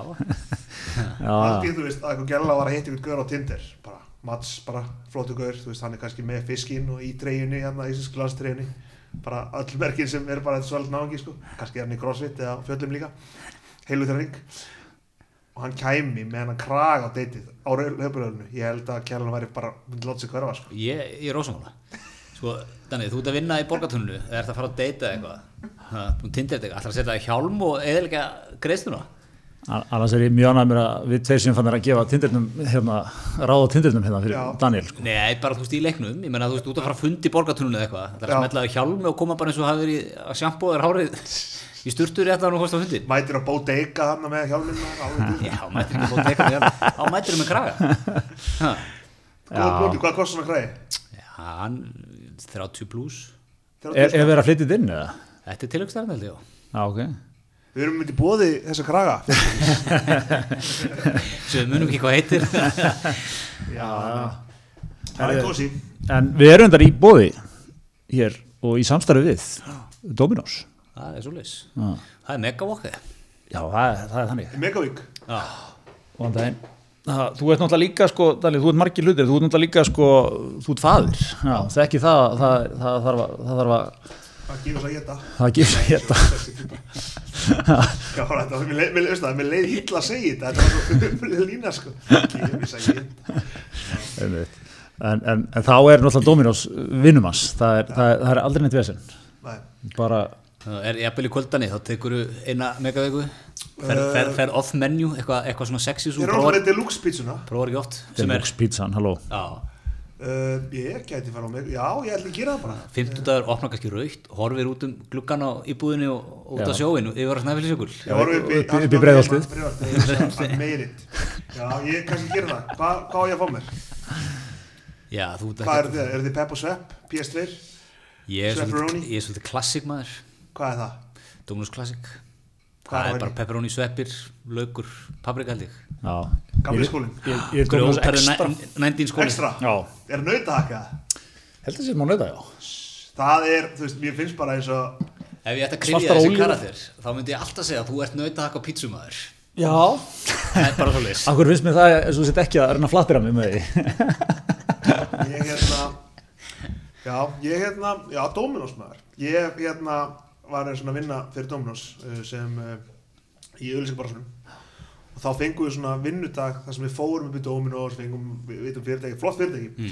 Ah.
Allt í þú veist að eitthvað gæla var að hitta ykkur gaur á Tinder bara, Mats bara, flótu gaur þú veist, hann er kannski með fiskinn og í treyjunni hérna, í þessu glanstreyjunni bara öll merkin sem er bara svolítið náðungi sko kannski er hann í crossfit eða á fjöllum líka heilu þeirra ring og hann kæmi með hann að kraga á deytið á höfbröðunum, ég held að kælan væri bara, myndi láta sig hverfa sko
Ég, ég er ósamála. Sko, Danni, þú ert að vinna í borgartunnu, eða ert að fara að deyta eitthvað, það er tindir eitthvað, ætlar að setja hjálm og eðalega greiðstuna?
annars er ég mjög annað mér að við tveir sem fannir að gefa tindirnum hérna, ráða tindirnum hérna fyrir
Já.
Daniel sko.
Nei, bara þú veist í leiknum, ég menna þú veist út að fara að fundi borgartunum eða eitthvað, það er að
Já.
smetla á hjálmi og koma bara eins og hafa verið að sjampóða þér hárið í sturtur eftir að hann hóst á fundi.
mætir að bóta eika hann með hjálminna alveg
Já, mættir ekki bótt eitthvað hjálm, þá mættir við með kraga. Ha.
Góða bóti, hvað kostar svona græði?
Já, hann, 30 pluss,
er, er verið að flytja inn eða?
þetta er tilöggstarinn held ég á.
Já, ok
Við erum myndið bóði þessa kraga
Svo við munum ekki hvað heitir.
Það er kósi
en við erum þar í bóði hér og í samstarfi við Dominos
það er svo leys.
Já.
Það er megavokkið.
já, það, er- það er þannig
Megavík
Já,
Góðan daginn. Ha, þú ert náttúrulega líka sko, Dali, þú ert margir hlutir, þú ert náttúrulega líka sko, þú ert faðir, já, það er ekki það, það, það, þarf að, það þarf að,
Það gefur svo að geta
það gefur þetta.
Já, þetta var, mér leið, mér, veist það, mér leið illa að segja þetta Þetta var svo umlega lína, sko Gefur svo að geta
Einmitt. En, en, en þá er náttúrulega Dominos vinnumans, það er, það, er- það er aldrei neitt vesen,
Nei.
bara,
það er jafnvel í kvöldanni, þá tekur þú eina megavíku, fer, fer, fer off menu, eitthvað eitthva svona sexy
Þeir
sem
eru
þú
alltaf
prófar,
með deluxe pítsuna
prófar ekki oft, sem er,
Deluxe Pizzan, halló,
já,
uh, Ég gæti fara á mig Já, ég ætla að gera það bara
50 dagur opnar kannski raukt, horfir út um gluggan á íbúðinni og og út á
Já.
sjóinu yfir að snæfélis ykkur.
Ég var upp í,
upp í- upp í Breiðholtið.
Breiðholtið, I made it. Já, ég kannski gera það Hva, Hvað á ég að fá mér?
Já, þú ert
Hvað
ekki,
eru þið? Eru þið Pep og Svepp? PS2?
ég er svolítið,
Pepperoni?
ég er svolítið klassik maður,
Hvað er það?
Dominus klassik. Það
Hvað er
er
á
bara
henni?
pepperoni sveppir, laukur, paprika held ég.
já.
Gamli skólinn.
Ég, ég, ég er Dominos extra.
Grjótarður nændín skóli.
Extra?
Já.
Er nautahakka?
Heldur þessi má nöða, já.
Það er, þú veist, mér finnst bara eins og
Ef ég ætti að krifja
Svartar
þessi
ólífur.
karakter, þá myndi ég alltaf segja að þú ert nautahakk á pítsumaður.
Já.
Það er bara svolítið.
Akkur finnst mér það, eins og þú sett ekki að reyna að flattira mig með því.
ég hérna já, ég hérna, já, Dominos maður ég hérna var eins og að vinna fyrir Dominos uh, sem uh, í auðlýsingabarsunum og þá fengum við svona vinnudag þar sem við fórum upp í Dominos, fengum, við vitum fyrirtæki flott fyrirtæki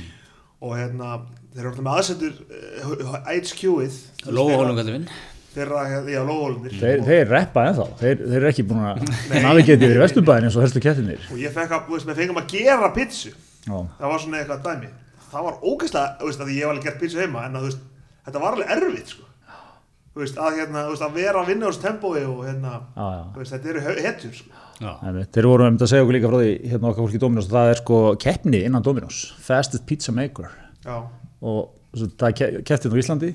og hérna, þeir eru alltaf með aðsetur uh, HQ-ið
Lóahólum kallum minn.
þeirra, hérna, já, Lóhólundir
Þeir, þeir reppa ennþá, þeir, þeir eru ekki búin að navigeti yfir vesturbæðin eins og helstu kettinir.
og ég fekk að, þú veist, við fengum að gera pizzu
Já.
það var svona eitthvað dæmi það var ógeðslega, þú veist, að ég hef alveg gert pizza heima en að, þú veist, þetta var alveg erfitt sko. þú veist, að hérna, þú veist, að vera að vinna úr tempói og hérna
Já, já.
þú veist, þetta eru he- hetjur sko.
Já.
Einmitt. Þeir voru um að segja okkur líka frá því hérna okkar fólki í Dominos og það er sko keppni innan Dominos, Fastest Pizza Maker
já,
og svo, það er ke- kepptin á Íslandi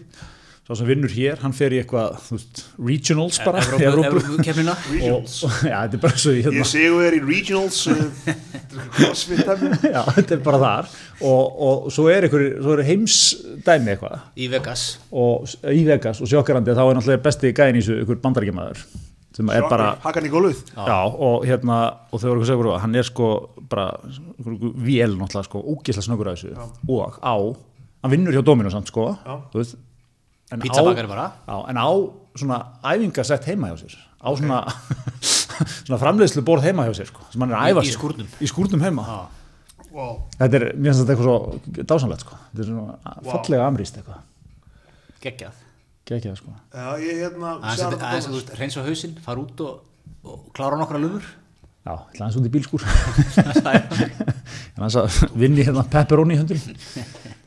svo sem vinnur hér, hann fer í eitthvað þú veist, regionals bara í
Evrópu keppnina.
og,
regionals
og já, þetta er bara svo í hérna
ég sigur þér í regionals uh, crossfit dæmi
já, þetta er bara þar og, og svo er einhver, svo er heimsdæmi eitthvað
Í Vegas.
og s- í Vegas og sjokkarandi þá er náttúrulega besti gæðin í þessu ykkur bandaríkjamaður sem er bara
hakan í gólfið
Já, og hérna, og þau voru eitthvað segur hann er sko bara vél náttúrulega sko, ógeðslega snöggur að þessu og á, hann vinnur hjá Dominus samt sko,
Já.
þú veist en
Pizzabakari bara.
Já, en á svona æfingasett heima hjá sér á svona, svona framleiðslu borð heima hjá sér sko, sem hann er að æfa
Í- í
sér
skúrnum.
Í skúrnum heima
Já.
wow.
Þetta er, mér finnst þetta eitthvað svo dásanlegt sko, þetta er svona fallega amrýst eitthvað,
Geggjað.
gekkjað sko
já, ég hérna
aðeins
shout out
að, aðeins að
to
þú
Thomas.
veist, reynsa hausinn, fara út og, og klára nokkra lumur
Já, ég ætla aðeins út í bílskúr en hans að vinni hérna pepperoni í höndum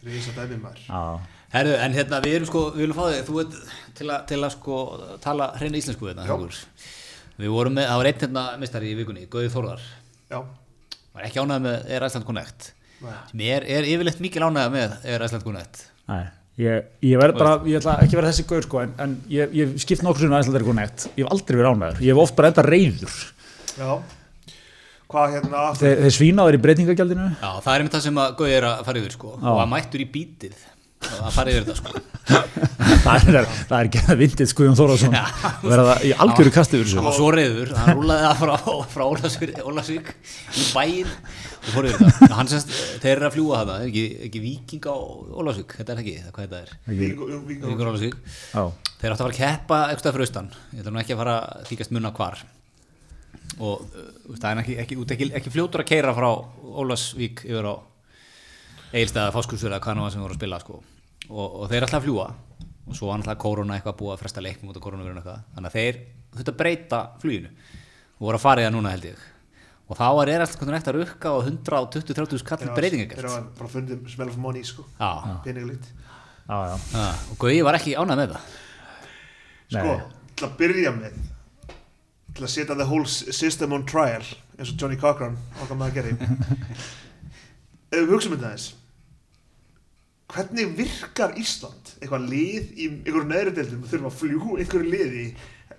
Risa dæmi maður
Já
Herru, en hérna, við erum sko, við viljum fá þig þú ert til, að- til að sko tala hreina íslensku hérna, Haukur Við vorum með, það var einn hérna mistari í vikunni Gauði Þórðar,
já,
var ekki ánægð með Air Iceland Connect
Nei.
sem er, er yfirleitt mikil ánægð með Air Iceland Connect
Nei, Ég, ég verð bara, ég ætla ekki að vera þessi gaur sko, en, en ég, ég hef skipt nokkur sinna aðeins að það er eitthvað neitt, ég hef aldrei verið ánæður ég hef oft bara enda reyður
já hvað hérna
Þe, þeir svínaður í breytingagjaldinu
Já, það er einmitt það sem að Gauði er að fara yfir sko og að mættur í bítið að fara yfir þetta sko
það er, það er gerða vindið Guðjón Þórásson verða í algjöru kasti yfir
hann
þessu
var svo reyður, hann rúlaði það frá, frá Ólafsvík, Ólafsvík í bæinn og fór yfir það hann sérst, þeir eru að fljúa það, ekki, ekki viking á Ólafsvík, þetta er ekki, það, hvað þetta er
Vingur
vikingur Ólafsvík,
Já.
þeir áttu að fara að keppa eitthvað fyrir austan, ég ætla nú ekki að fara að þykast munna hvar og uh, það er ekki, ekki, ekki, ekki, ekki fljótur að keira frá Ólafsvík yfir á Egilstaða, Fáskursfjörða, hvað nú var sem voru að spila sko. og, og þeir alltaf fljúa og svo var alltaf korona eitthvað búið að fresta leiknum út af koronavirun eitthvað, þannig að þeir þurftu að breyta fluginu og voru að fara í það núna held ég og þá er alltaf hvernig nægt að rukka og 120-30 skall breytingagert
þeirra bara fundum smell of money sko
Já.
peningalit
Já, já.
Ha, og Guði var ekki ánað með það
sko til að byrja með til að setja the whole s- system on trial eins og Johnny Cochran okkar maður gerði ef við hugsaum þetta aðeins hvernig virkar Ísland eitthvað lið í einhverju neðri deildum og þurfum að fljú einhverju liði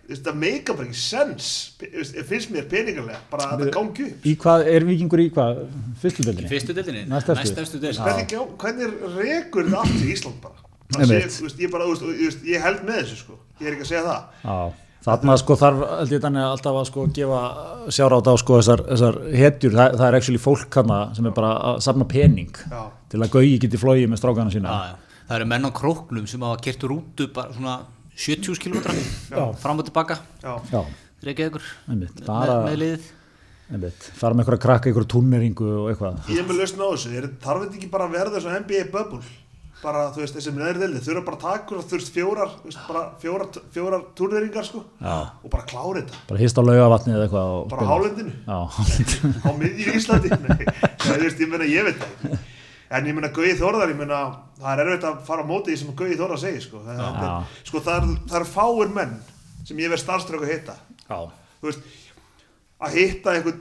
þetta make up ekki sense Pe- þú veist, finnst mér peningalega bara að það gangi upp
í hvað, er vikingur í hvað, fyrstudöldinni
fyrstu deildinni,
Næst efstu.
næstefstu deildinni
hvernig, gá- hvernig rekur þetta allt í Ísland bara Það sé,
Einmitt.
þú veist, ég, bara, þú veist, og- þú veist, ég held með þessu sko ég er ekki að segja það
Já, þarna sko þarf held ég þannig alltaf að sko gefa sjárátt á sko þessar, þessar hetjur, það, það er actually fólk hana sem er bara að safna pening
Já.
til að gaugi geti flogið með strákana sína.
Já, já. það eru menn á króknum sem hafa kert rútu bara svona 70 km
Já.
fram og tilbaka,
Já.
Já,
Reykjavíkur
einmitt,
með,
bara,
með liðið
einmitt, fara með einhverja krakka, einhverja túnmeringu og eitthvað.
ég er með lausn á þessu, er, þarf þetta ekki bara að verða þessu NBA bubble, bara þú veist þessi neðri delið, þurfa bara að taka og þurft fjórar þú veist, bara fjórar, fjórar turneringar sko,
Já.
og bara klára þetta
Bara hýst á laugavatni eða eitthvað. og
bara á
spila.
hálendinu,
Já, hálendinu.
á miðjum Íslandi Nei, þú veist, ég meina, ég veit það ekki. en ég meina Gauði Þórðar, ég meina það er erfitt að fara á móti því sem Gauði Þórðar segir sko, það, það,
Já.
er- sko það, er, það er fáir menn sem ég verð starfströku að hitta
Já,
þú veist, að hitta einhvern,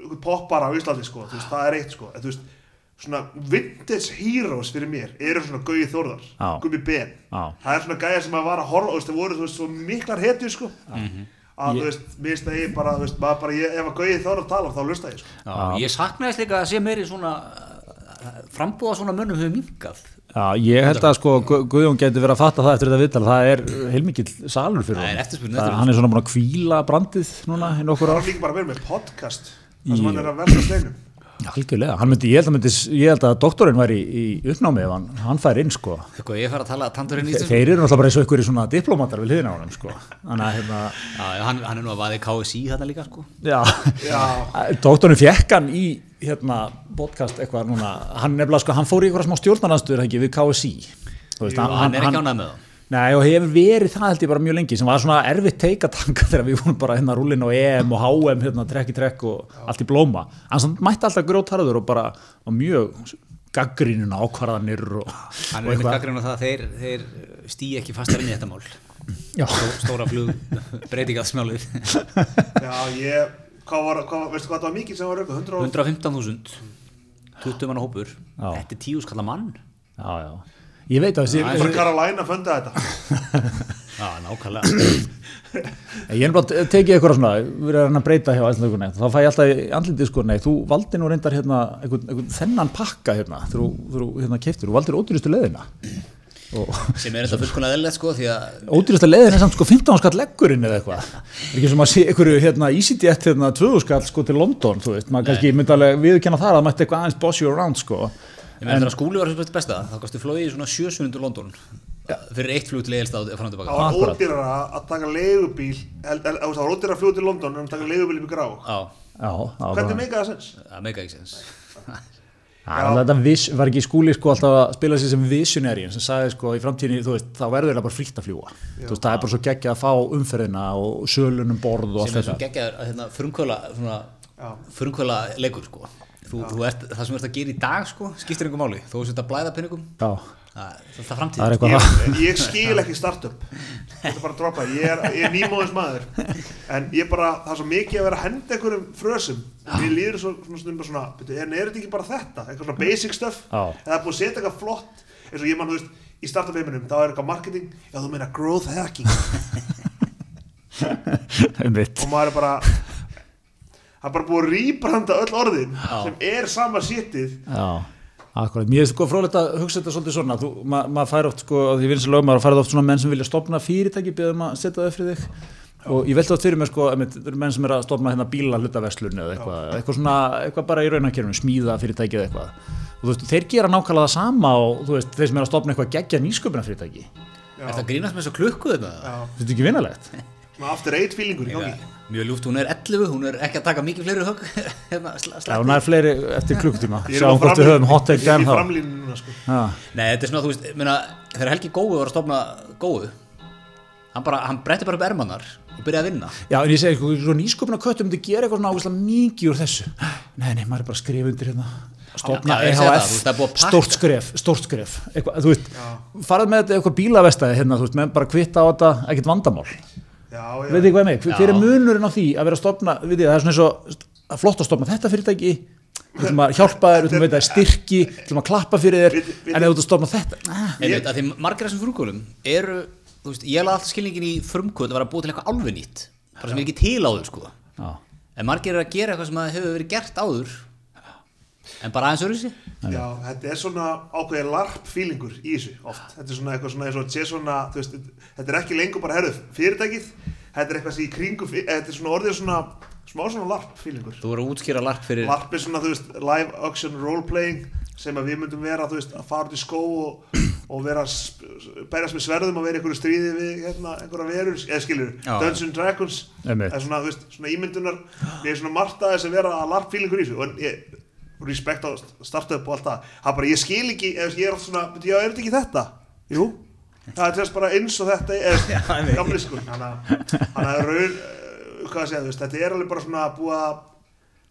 einhvern poppara á Íslandi sko, þú veist, það er eitt sko, en þú veist svona vintage heroes fyrir mér eru svona Gauði Þórðar,
Já.
Gumi Ben
Já.
það er svona gæja sem að var að horfa þú veist, það voru þú veist, svo miklar hetjur sko
Mhm.
að þú veist, mist að ég bara, þú veist, maður bara ég, ef að Gauði Þórðar talar þá lusta ég sko
Já, ég saknaðist líka að sé meiri svona uh, frambúða svona mönnum hefur minkað
Já, ég held að sko Gu- Guðjón getur verið að fatta það eftir þetta viðtal, það er heilmikill salur fyrir
Það er
honum.
eftirspurn,
Það-
eftirspurn.
Hann er svona búin að kvíla brandið núna í nokkur
það
ár.
var líka bara verið með podcast þar
Jú.
sem hann er að verða steinum
Algjörlega, hann myndi, ég held að, myndi, ég held að doktorinn væri í, í uppnámi ef hann, hann fær inn sko.
Eitthvað ég fara að tala tandurinn í
Þe-
þessu
Þeir eru náttúrulega bara eins og ykkur í svona diplomatar við hliðina á hann sko. Þannig að hérna,
Já, já, hann, hann er nú að vaði KSI þarna líka sko
já,
já,
doktorinn fekk hann í hérna podcast eitthvað núna, hann nefnilega sko, hann fór í eitthvað smá stjórnarnastuður ekki við KSI. Þú Veist,
og hann er ekki ánað með það
Nei og hefur verið það held ég bara mjög lengi sem var svona erfitt teikatanga þegar við vorum bara hérna rúlin á EM og HM hérna trekk í trekk og allt í blóma hann samt mætti alltaf grótarður og bara og mjög gaggrínuna ákvarðanir og,
Hann
og
er einmitt gaggrinn á það að þeir, þeir stýja ekki fastar inn í þetta mál
Já,
Stóra flug breytingaðsmjálið
já, ég hvað var, hvað, veistu hvað það var mikið sem var rökuð 100 og
115.000 20 manna hópur Þetta er tíu skalla mann
já, já Ég veit að þessi,
Já,
Það var Karolina að funda þetta
Já, nákvæmlega
ég er bara tekið eitthvað svona, við erum að breyta hjá ætlendurkunni, þá fæ ég alltaf í andlitið sko, nei, þú valdi nú reyndar hérna einhvern, einhvern þennan pakka hérna, þegar þú- þegar þú hérna keftir, þú valdir ódýrustu leðina og
Sem er þetta fullkona eðlilegt sko því að
ódýrasta leiðin er samt sko 15 skall leggurinn eða eitthvað er ekki sem að sé einhverju hérna EasyJet hérna 20 skall sko til London þú veist, maður kannski myndi alveg viðurkenna þar að maður ætti eitthvað aðeins boss you around sko
Ég meina þegar skúli var sem besta þá kosti flóið í svona sjösunundur London fyrir eitt flug til eðlstað og fram og tilbaka
Það var
Akkurat.
ódýrara að taka leigubíl held- held- þú veist, Það var ódýrara að fljóta til London en að taka leigubíl upp í grá
Já,
Já, já,
Hvernig
bara-
meika það sens?
það meika ekki sens
Já, alveg þetta vis, var ekki skúli sko alltaf að spila sér sem visionærin sem sagði sko í framtíðinni, þú veist, þá verður það bara frítt að fljúa þú veist, það er bara svo geggjað að fá umferðina og sölunum borð og allt
sem er svo
þetta
geggjaður að hérna, frumkvöla svona,
Já.
frumkvöla leikur sko. þú, þú ert, það sem þú ert að gera í dag sko, skiptir einhver máli, þú ert að blæða peningum
Já,
það það er alltaf
það er
framtíð
eitthvað
Ég,
það
ég skil ekki startup Þetta er bara að droppa, ég er, ég er nýmóðins maður En ég bara, það er svo mikið að vera að henda einhverjum frösum Mér líður svo, svona stundum bara svona byrju, En er þetta ekki bara þetta? Eitthvað svona basic stuff
Já.
En það er búið að setja eitthvað flott eins og ég man, þú veist í startup heiminum, þá er eitthvað marketing já þú meina growth hacking
um mitt
og maður er bara það er bara búið að rýbranda öll orðin sem er sama séttið
Já, akkurat. Mér er sko frólægt að hugsa þetta svolítið svona. Þú, ma maður fær oft sko, því vinst lögum, maður fær oft svona menn sem vilja stopna fyrirtæki beðum að setja það upp fyrir þig. Og ég veldi oft fyrir mér sko, einmitt, það eru menn sem er að stopna hérna bíla hlutaverslun eða eitthvað, eitthvað svona, eitthvað bara í raunakjörnum, smíða fyrirtæki eða eitthvað. Og þú veist, þeir gera nákvæmlega það sama og þú veist, þeir sem er að stopna eitthvað geggja nýsköpuna fyrirtæki.
Er það að grínast með þessu klukku hérna? þetta?
Þetta er ekki vinalegt.
svona after eight feelingur í gangi
Mjög ljúft, hún er 11, hún er ekki að taka mikið fleiri högg hérna, sla-
Já,
slætti.
hún er fleiri eftir klukkutíma.
Ég er á
Sjáum hvort við
framlínu-
höfum hot take
ég er
dæm
í
þá.
framlínu núna sko
Já.
Nei, þetta er svona, þú veist, minna, þegar Helgi Gói var að stopna Góu hann bara, hann bretti bara upp ermannar og byrjaði að vinna
Já, en ég segi, sko, svo nýsköpuna köttum myndi gera eitthvað svona ágæslega mikið úr þessu. Nei, nei, maður er bara að skrifa undir hérna. Stofna
Já, já, ég segi það, þú veist, það er búið að
EHF,
pakka.
stórt skref, stórt skref. Eitthvað, þú veist, farað með þetta eitthvað bílavestæði hérna, þú veist, menn bara kvitta á þetta ekkert vandamál.
já,
Veit þið
já,
hvað ég mig, hver, hver er munurinn á því að vera að stofna, veit þið, það er svona eins og það er flott að stofna þetta fyrirtæki, við ætlum að hjálpa þér, við ætlum að veita þér styrki, við ætlum að klappa fyrir þér,
Vitið- vitið-
en ef þú ert að stofna þetta, ah,
Einmitt, að því margir af þessum frumkvölum eru, þú veist, ég laði alltaf skilningin í frumkvöld að vera að búa til eitthvað alveg nýtt bara sem er ekki til áður, sko
já,
en margir eru að gera eitthvað sem að hefur verið gert áður en bara aðeins öðru sér
já, þetta er svona ákveðið larp feelingur í þessu oft þetta er svona eitthvað svona, svona, sé svona þú veist, þetta er ekki lengur bara herðu fyrirtækið þetta er eitthvað sem í kringu þetta er svona orðið svona smá svona larp feelingur
Þú voru að útskýra larp fyrir
larp er svona þú veist live action role playing sem að við myndum vera þú veist að fara út í skó og, og vera að sp- berjast með sverðum og vera í einhverju stríði við hérna, einhverja verur eða skilur
Já.
Dungeons and Dragons
Einmitt.
er svona, þú veist, svona ímyndunar ég er svona margt að þess að vera að larp fílingur í þessu og ég respekt á startup og allt það það er bara ég skil ekki ef ég er oft svona "Bíddu, já er þetta ekki þetta jú það er þess bara eins og þetta er gamli sko þannig að- þannig að raun eh, hvað að segja þú veist þetta er alveg bara svona búið að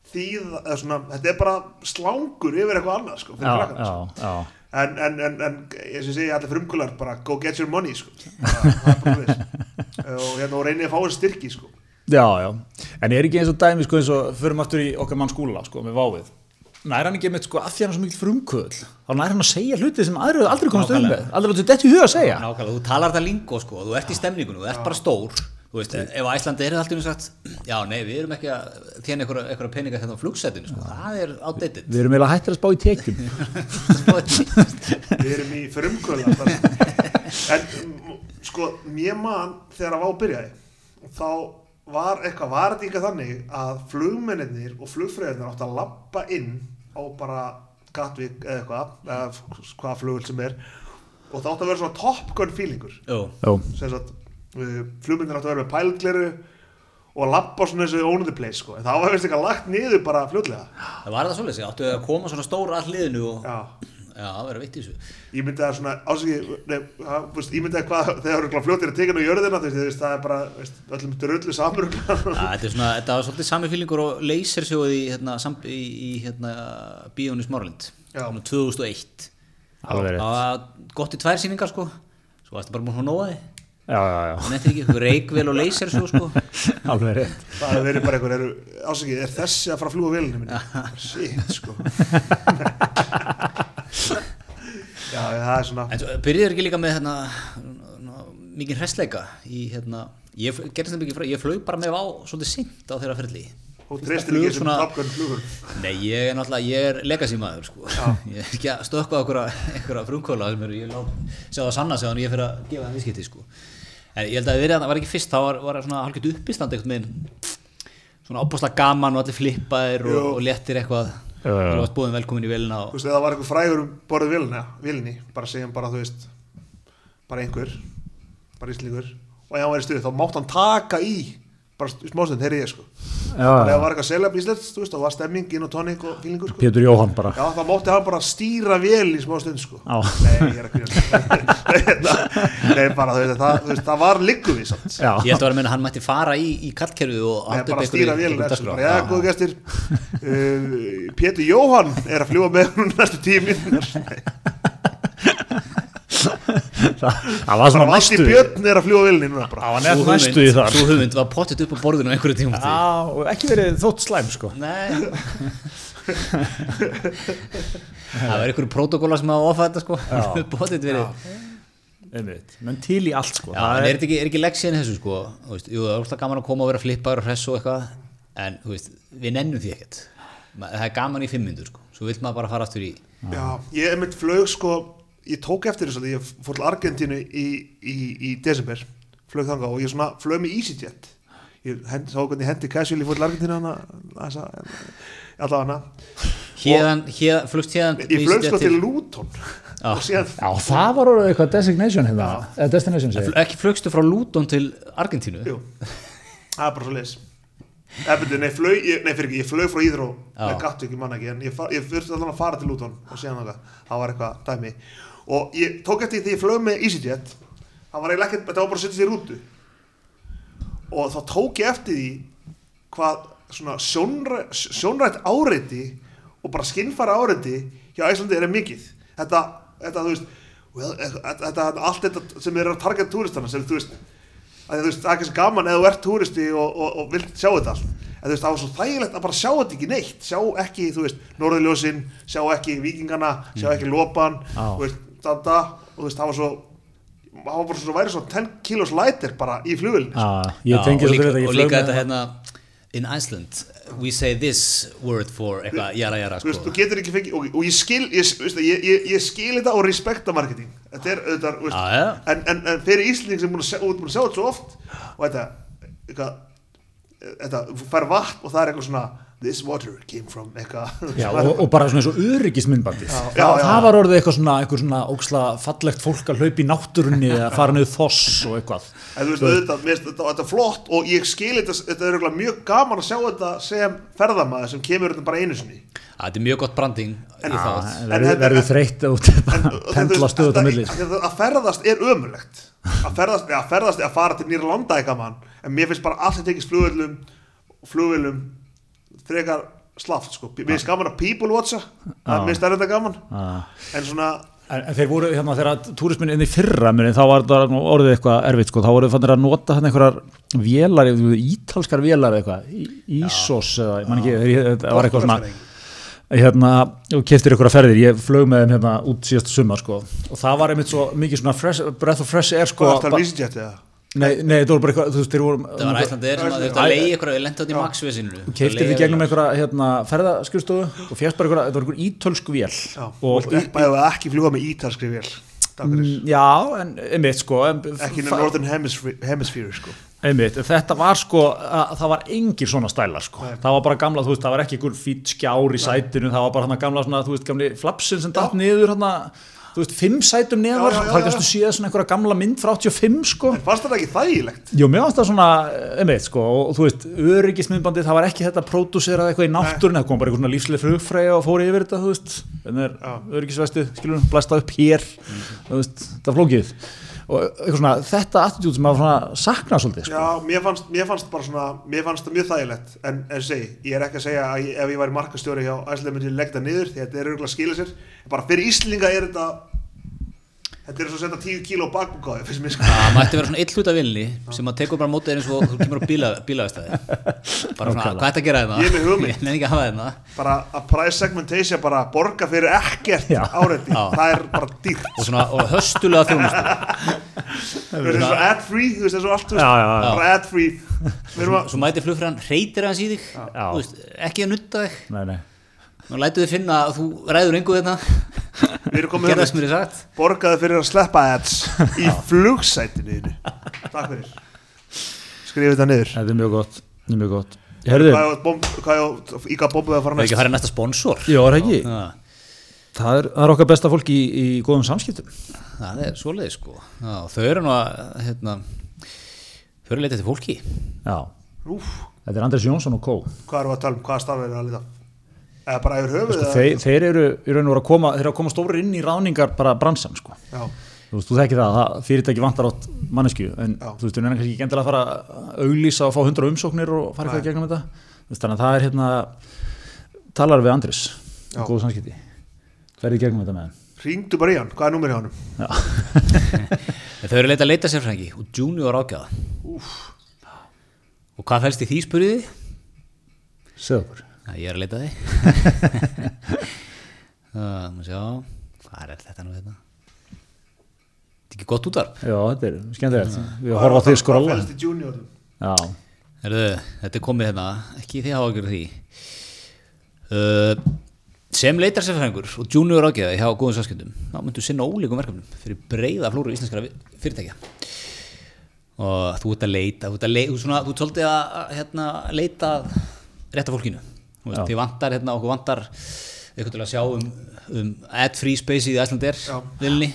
þýða eða svona þetta er bara slangur yfir eitthvað annað sko fyrir
já,
krakkana sko
já, já.
en, en, en, en ég sem segi allir frumkular bara go get your money sko. það það er bara þess og hérna og reynið að fá þessi styrki sko.
Já, já, en er ekki eins og dæmi sko eins og förum aftur í okkar mann skúla sko með váið, nær hann ekki með sko af því hann er svo mikil frumkvöld, þá nær hann að segja hluti sem aðrir hefðu aldrei komast um með,
Nákvæmlega.
aldrei látið þetta í huga að segja
Nákvæmlega, þú talar það lingó sko, þú ert í stemningunum, þú ert bara stór Þú veist, ef Æslandi er alltaf sagt Já, nei, við erum ekki að þjána einhverja, einhverja peninga þetta á flugsetinu, sko, það er outdated
Við erum eiginlega hættir að spá í tekjum
við erum í frumkvöla en mm, sko mér man þegar að vá byrjaði þá var eitthvað var þetta eitthvað þannig að flugmennir og flugfröðinir áttu að lappa inn á bara Gatwick eða eitthvað eða hvað flugul sem er og það áttu að vera svona top gun feelingur
Jú,
Jó,
sem sagt, uh, flugmyndir áttu að vera með pælgleru og lappa svona þessu on the place sko. en það var veist eitthvað lagt niður bara fljótlega
það var það svolítið, áttu að koma svona stór all liðinu og
já,
Já, það verður veitt í þessu
ég myndi að svona ásiki, nei, það, þú veist, ég myndi að hvað þegar eru fljótlega tekinu á jörðina þú veist, þú veist, það er bara, veist, öllum drullu samur
Já, þetta er svona, þetta var svolítið sami fílingur og leysersjóði í, hérna, sam- í, í hérna, bíónu Smáralind
Já.
2001
alveg
Það
rétt
var gott í tvær sýningar sko Svo varstu bara múin að nóa þig
Já, já,
Það nefnir ekki, reikvel og leysersjó sko
já, alveg rétt
það er verið bara eitthvað, ásiki, er þessi að fara að fljúa vélinu minni shit, sko já, það er svona
En svo byrjuður ekki líka með hérna, hérna, mikið hressleika í hérna, ég fl- gerðist það mikið frá, ég flög bara með á svolítið sint á þeirra ferli.
og
Fyrsta
treystir
flug
ekki þessum
svona-
top gun flugur
Nei, ég er náttúrulega, ég er legacy-maður sko. Ég er ekki að stökkva okkur einhverja frumkóla sem eru, ég lá, sjá það sanna sig þannig ég fyrir að gefa það viðskipti sko. En ég held að verið að það var ekki fyrst, þá var, var svona halkjöld uppistand einhvern veginn, svona opbúslega gaman og allir flippaðir og,
Jú.
og léttir eitthvað.
Já, já, já.
Þú varst búin velkomin í velina
þú
og
veist, eða það var einhver frægur um borðið vilni, vilni bara segjum bara, þú veist bara einhver, bara íslingur og ef hann væri stuð, þá mátt hann taka í bara st- smástund, heyrði ég sko bara ef það
Já,
var eitthvað selab íslenskt, þú veist, þá var stemming inn og tónik og fílingur sko
Pétur Jóhann bara
Já, þá mátti hann bara stýra vel í smástund sko
Já.
Nei, ég er að kvíða Nei, bara, þú veist, það, þú veist, það var liggum við samt
Já,
Ég held að vera að meina að hann mætti fara í, í kallkerfið og
Nei,
halda upp
bara stýra
einhverju-
vel
einhverju
sko.
dagskrá.
eftir, bara, já, góðu gestir uh, Pétur Jóhann er að fljúa með hún næstu tíu mínútur
það það var svona
bara Valdi
næstu
Björn er að fljúa vilni núna bara
var
Sú
nefn
hugmynd-
næstu í þar
Sú hugmynd var pottet upp á borðinu á einhverju tíma
Já, og ekki verið þótt slæm sko
Nei Það var einhverju protokóla sem hafa ofað þetta sko Pottet verið
einmitt, menn til í allt sko
Já, en er þetta ekki, er ekki leksíðan í þessu sko þú veist, Jú, það er óslega gaman að koma og vera flippaður og hress og eitthvað En þú veist, við nennum því ekkert Ma- Það er gaman í fimm myndur sko Svo vill maður bara fara aftur í
Já, ég er mitt flög sko ég tók eftir þess að ég fór til Argentínu í, í, í desember flög þanga og ég svona flög með EasyJet ég hend, sá hvernig ég hendi casual ég fór til Argentínu hana alltaf hana
Hérðan, hérðan, flugst hérðan
ég flög sko
vísið
til Luton
Já.
og síðan
Já, það var orðið eitthvað designation hérna, eða destination segir.
Ekki flugstu frá Luton til Argentínu
Jú, það er bara svo leis Nei, flög, ég, nei fyrir ekki, ég flög frá Íðró
Já.
Nei, gattu ekki, manna ekki En ég, fa- ég fyrst allan að fara til Luton Og séðan það, það var eitthvað dæmi Og ég tók eftir því þegar ég flög með EasyJet Það var eiginlega ekkert, þetta var bara að setja sér út Og þá tók ég eftir því Hvað svona sjónræ, sjónrætt áreiti Og bara skinnfara áreiti Hjá Æslandi er mikið Þetta, þetta þú veist well, þetta, þetta, Allt þetta sem er að target túristana Sem þú veist að þú veist, það er kannski gaman eða þú ert túristi og, og, og vilt sjá þetta allt en þú veist, það var svo þægilegt að bara sjá þetta ekki neitt sjá ekki, þú veist, norðurljósin sjá ekki vikingana, sjá ekki lopan
Á.
þú veist, danda og þú veist, það var svo það var bara svo væri svo 10 kilos lighter bara í sko. flugilni
Já, Ah, ég tengi
og líka,
svo fyrir þetta, ég
og
flög
líka þetta
með
hérna In Iceland, we say this word for eitthvað, jara jara
þú veist,
sko
þú getur ekki fengið, og, og ég skil ég, þú veist, ég, ég, ég skil þetta og respekta marketing þetta er auðvitað, þú veist,
Já, já.
En, en, en fyrir Ísling sem búin að sjá, út búin að sjá þetta svo oft og þetta, eitthvað þetta, þú fær vatn og það er eitthvað svona this water came from eitthvað
Já, og, og bara svona eins og öryggismyndbandið.
Já, já,
Það,
já.
það var orðið eitthvað svona, eitthvað svona óksla fallegt fólk að hlaupa í náttúrunni eða fara niður foss og eitthvað.
En þú veist, auðvitað, mér finnst þetta, þetta er flott og ég skil þetta, þetta er örugglega mjög gaman að sjá þetta sem ferðamaður sem kemur þetta bara einu sinni.
Að Þetta er mjög gott branding í þátt
Verðu,
þetta-
verðu þreytt og
En-
pendla
þú veist,
stöðut á
þetta-
milli. sko.
þetta- Að ferðast er ömulegt. Að ferðast, að ferðast, að fara til nýra landa eitthvað mann, en mér finnst bara allt sem tekist flugvillum, flugvillum, frekar slaft, sko. Mér finnst gaman að people watcha, það mér finnst það þetta gaman.
Já.
En svona,
En, en þeir voru hérna þegar túrismin inn í fyrra minni þá var það orðið eitthvað erfitt sko, þá voru fannir að nota hann einhverjar vélar, ítalskar vélar eða eitthvað, Í- Ísos eða, ég man ekki, þeir- það var eitthvað svona hérna, og keftir ykkur að ferðir ég flög með þeim hérna út síðast sumar sko, og það var einmitt svo mikið svona fresh, breath of fresh air sko
hvað er það
ba-
að vísi þetta?
nei, nei, þetta voru bara eitthvað, þú veist, þeir voru
Það var Æslandi er sem að þetta leiði ykkur að við lenda át í maxvesinu
Keiftir þið gegnum einhverja hérna, ferðaskurstofu og fjast bara einhverja, þetta var einhver ítölsk vél
Já,
og Mm.
og ekki, bæði að ekki fljúa með ítalskri vél, takk fyrir.
Já, en einmitt sko en,
Ekki
fa-
innan Northern Hemisphere, hemisphere sko.
Einmitt, en þetta var sko, að, það var engir svona stælar sko, það var bara gamla, þú veist, það var ekki einhver fýtt skjár í sætinu, það var bara hann gamla svona, þú veist, gamli flapsin sem datt niður hann þú veist, fimm sætum neðar,
Já, já, já,
þar
já.
kannstu séð svona einhverja gamla mynd frá 85 sko.
En fannst þetta ekki þægilegt?
Jú, mér fannst það svona, einmitt sko, og þú veist, öryggismyndbandið, það var ekki þetta pródúserað eitthvað í náttúrun, það kom bara einhver svona lífslega frugfræja og fór yfir þetta, þú veist, en er öryggisvestið, skilur, blæstað upp hér, þú veist, það er flókið. Og eitthvað svona, þetta attitút sem maður svona saknar svolítið, sko.
Já, mér fannst, mér fannst bara svona, mér fannst það mjög þægilegt en eins og segi, ég er ekki að segja að ég, ef ég væri markastjóri hjá Æslega myndi ég legg það niður því þetta er auðvitað að skila sér bara fyrir Íslinga er þetta þetta er svo að setja 10 kíló bakbúkáði finnst mér sko
Það mætti vera svona eitt hluta vilni sem að tekur bara mótið eins og þú kemur á bíla, bílavistæði bara svona, hvað ætti að gera þetta?
Ég er með hugmynd.
Ég nefn ekki að hafa hérna. þetta
bara að price segmentation bara borga fyrir ekkert
Já.
áreiti
Já.
það er bara dýrt
og svona og höstulega þjónustu
þú veist þessu ad free, þú veist þessu allt þú
Já,
veist,
já, já.
bara ad free við erum að
svo mæti flugfræðan, reytir hans í þig
Já.
þú veist, ekki að nutta þig
Nei, nei.
og lætu þig finna að þú ræður engu þetta
við erum komið
gerða sem
hugmynd.
mér er sagt
borgaði fyrir að sleppa ads í flugsætinu þínu. takk fyrir skrifið þetta niður
Þetta er mjög gott, þetta er mjög gott. Herðu,
Hvað er bomb- hvað er- í hvað bombuðu að fara
það er
næst
ekki að fara í næsta sponsor
já, er það ekki,
Já,
það er, það er okkar besta fólk í, í góðum samskiptum.
það er svoleiði sko Já, þau eru nú að hérna, þau eru að leita til fólki
Já,
Úf,
þetta er Andrés Jónsson og Kó.
hvað erum við að tala um, hvaða starf er að lita eða bara yfir höfuð
Sko,
eða-
þeir, þeir eru, eru nú að koma, þeir eru að koma stórir inn í ráningar bara bransan, sko.
Já,
Þú veist, þú þekkir það, það fyrirtæki vantar átt mannesku, en
Já.
þú veist, þú nefnir kannski ekki endilega að fara að auglýsa og fá hundra umsóknir og fara eitthvað í gegnum þetta. Þú veist, þannig að það er hérna, talar við Andrés,
Já.
góð samskipti. Ferði í gegnum þetta með hann.
ringdu bara í hann, hvað er númur hjá hann
en þau eru að leita að leita sérfrængi og junior ágjáða og hvað fælst í því spurðið þið?
Segð okkur.
Já, ég er að leita að þig Það, maður sjá Hvað hérna? er þetta nú þetta? Þetta er ekki gott útvarp.
Já, þetta er skemmtilegt. Við horfa á því skrolla.
fælst í juniorum
Já,
Herðu, þetta er komið hérna, ekki því hafa okkur því. Uh, sem leitar sérfæðingur og junior ágæða hjá góðum sáskjöndum, þá myndu sinna ólíkum verkefnum fyrir breyða flóru íslenskara vi- fyrirtækja. Og þú ert að leita, þú ert að leita, þú ert svona, þú ert svolítið að að, hérna, leita að rétta fólkinu. Þú veist,
Já.
þið vantar, hérna, okkur vantar eitthvað til að sjá um, um ad-free space í Æslandir,
Já.
vilni.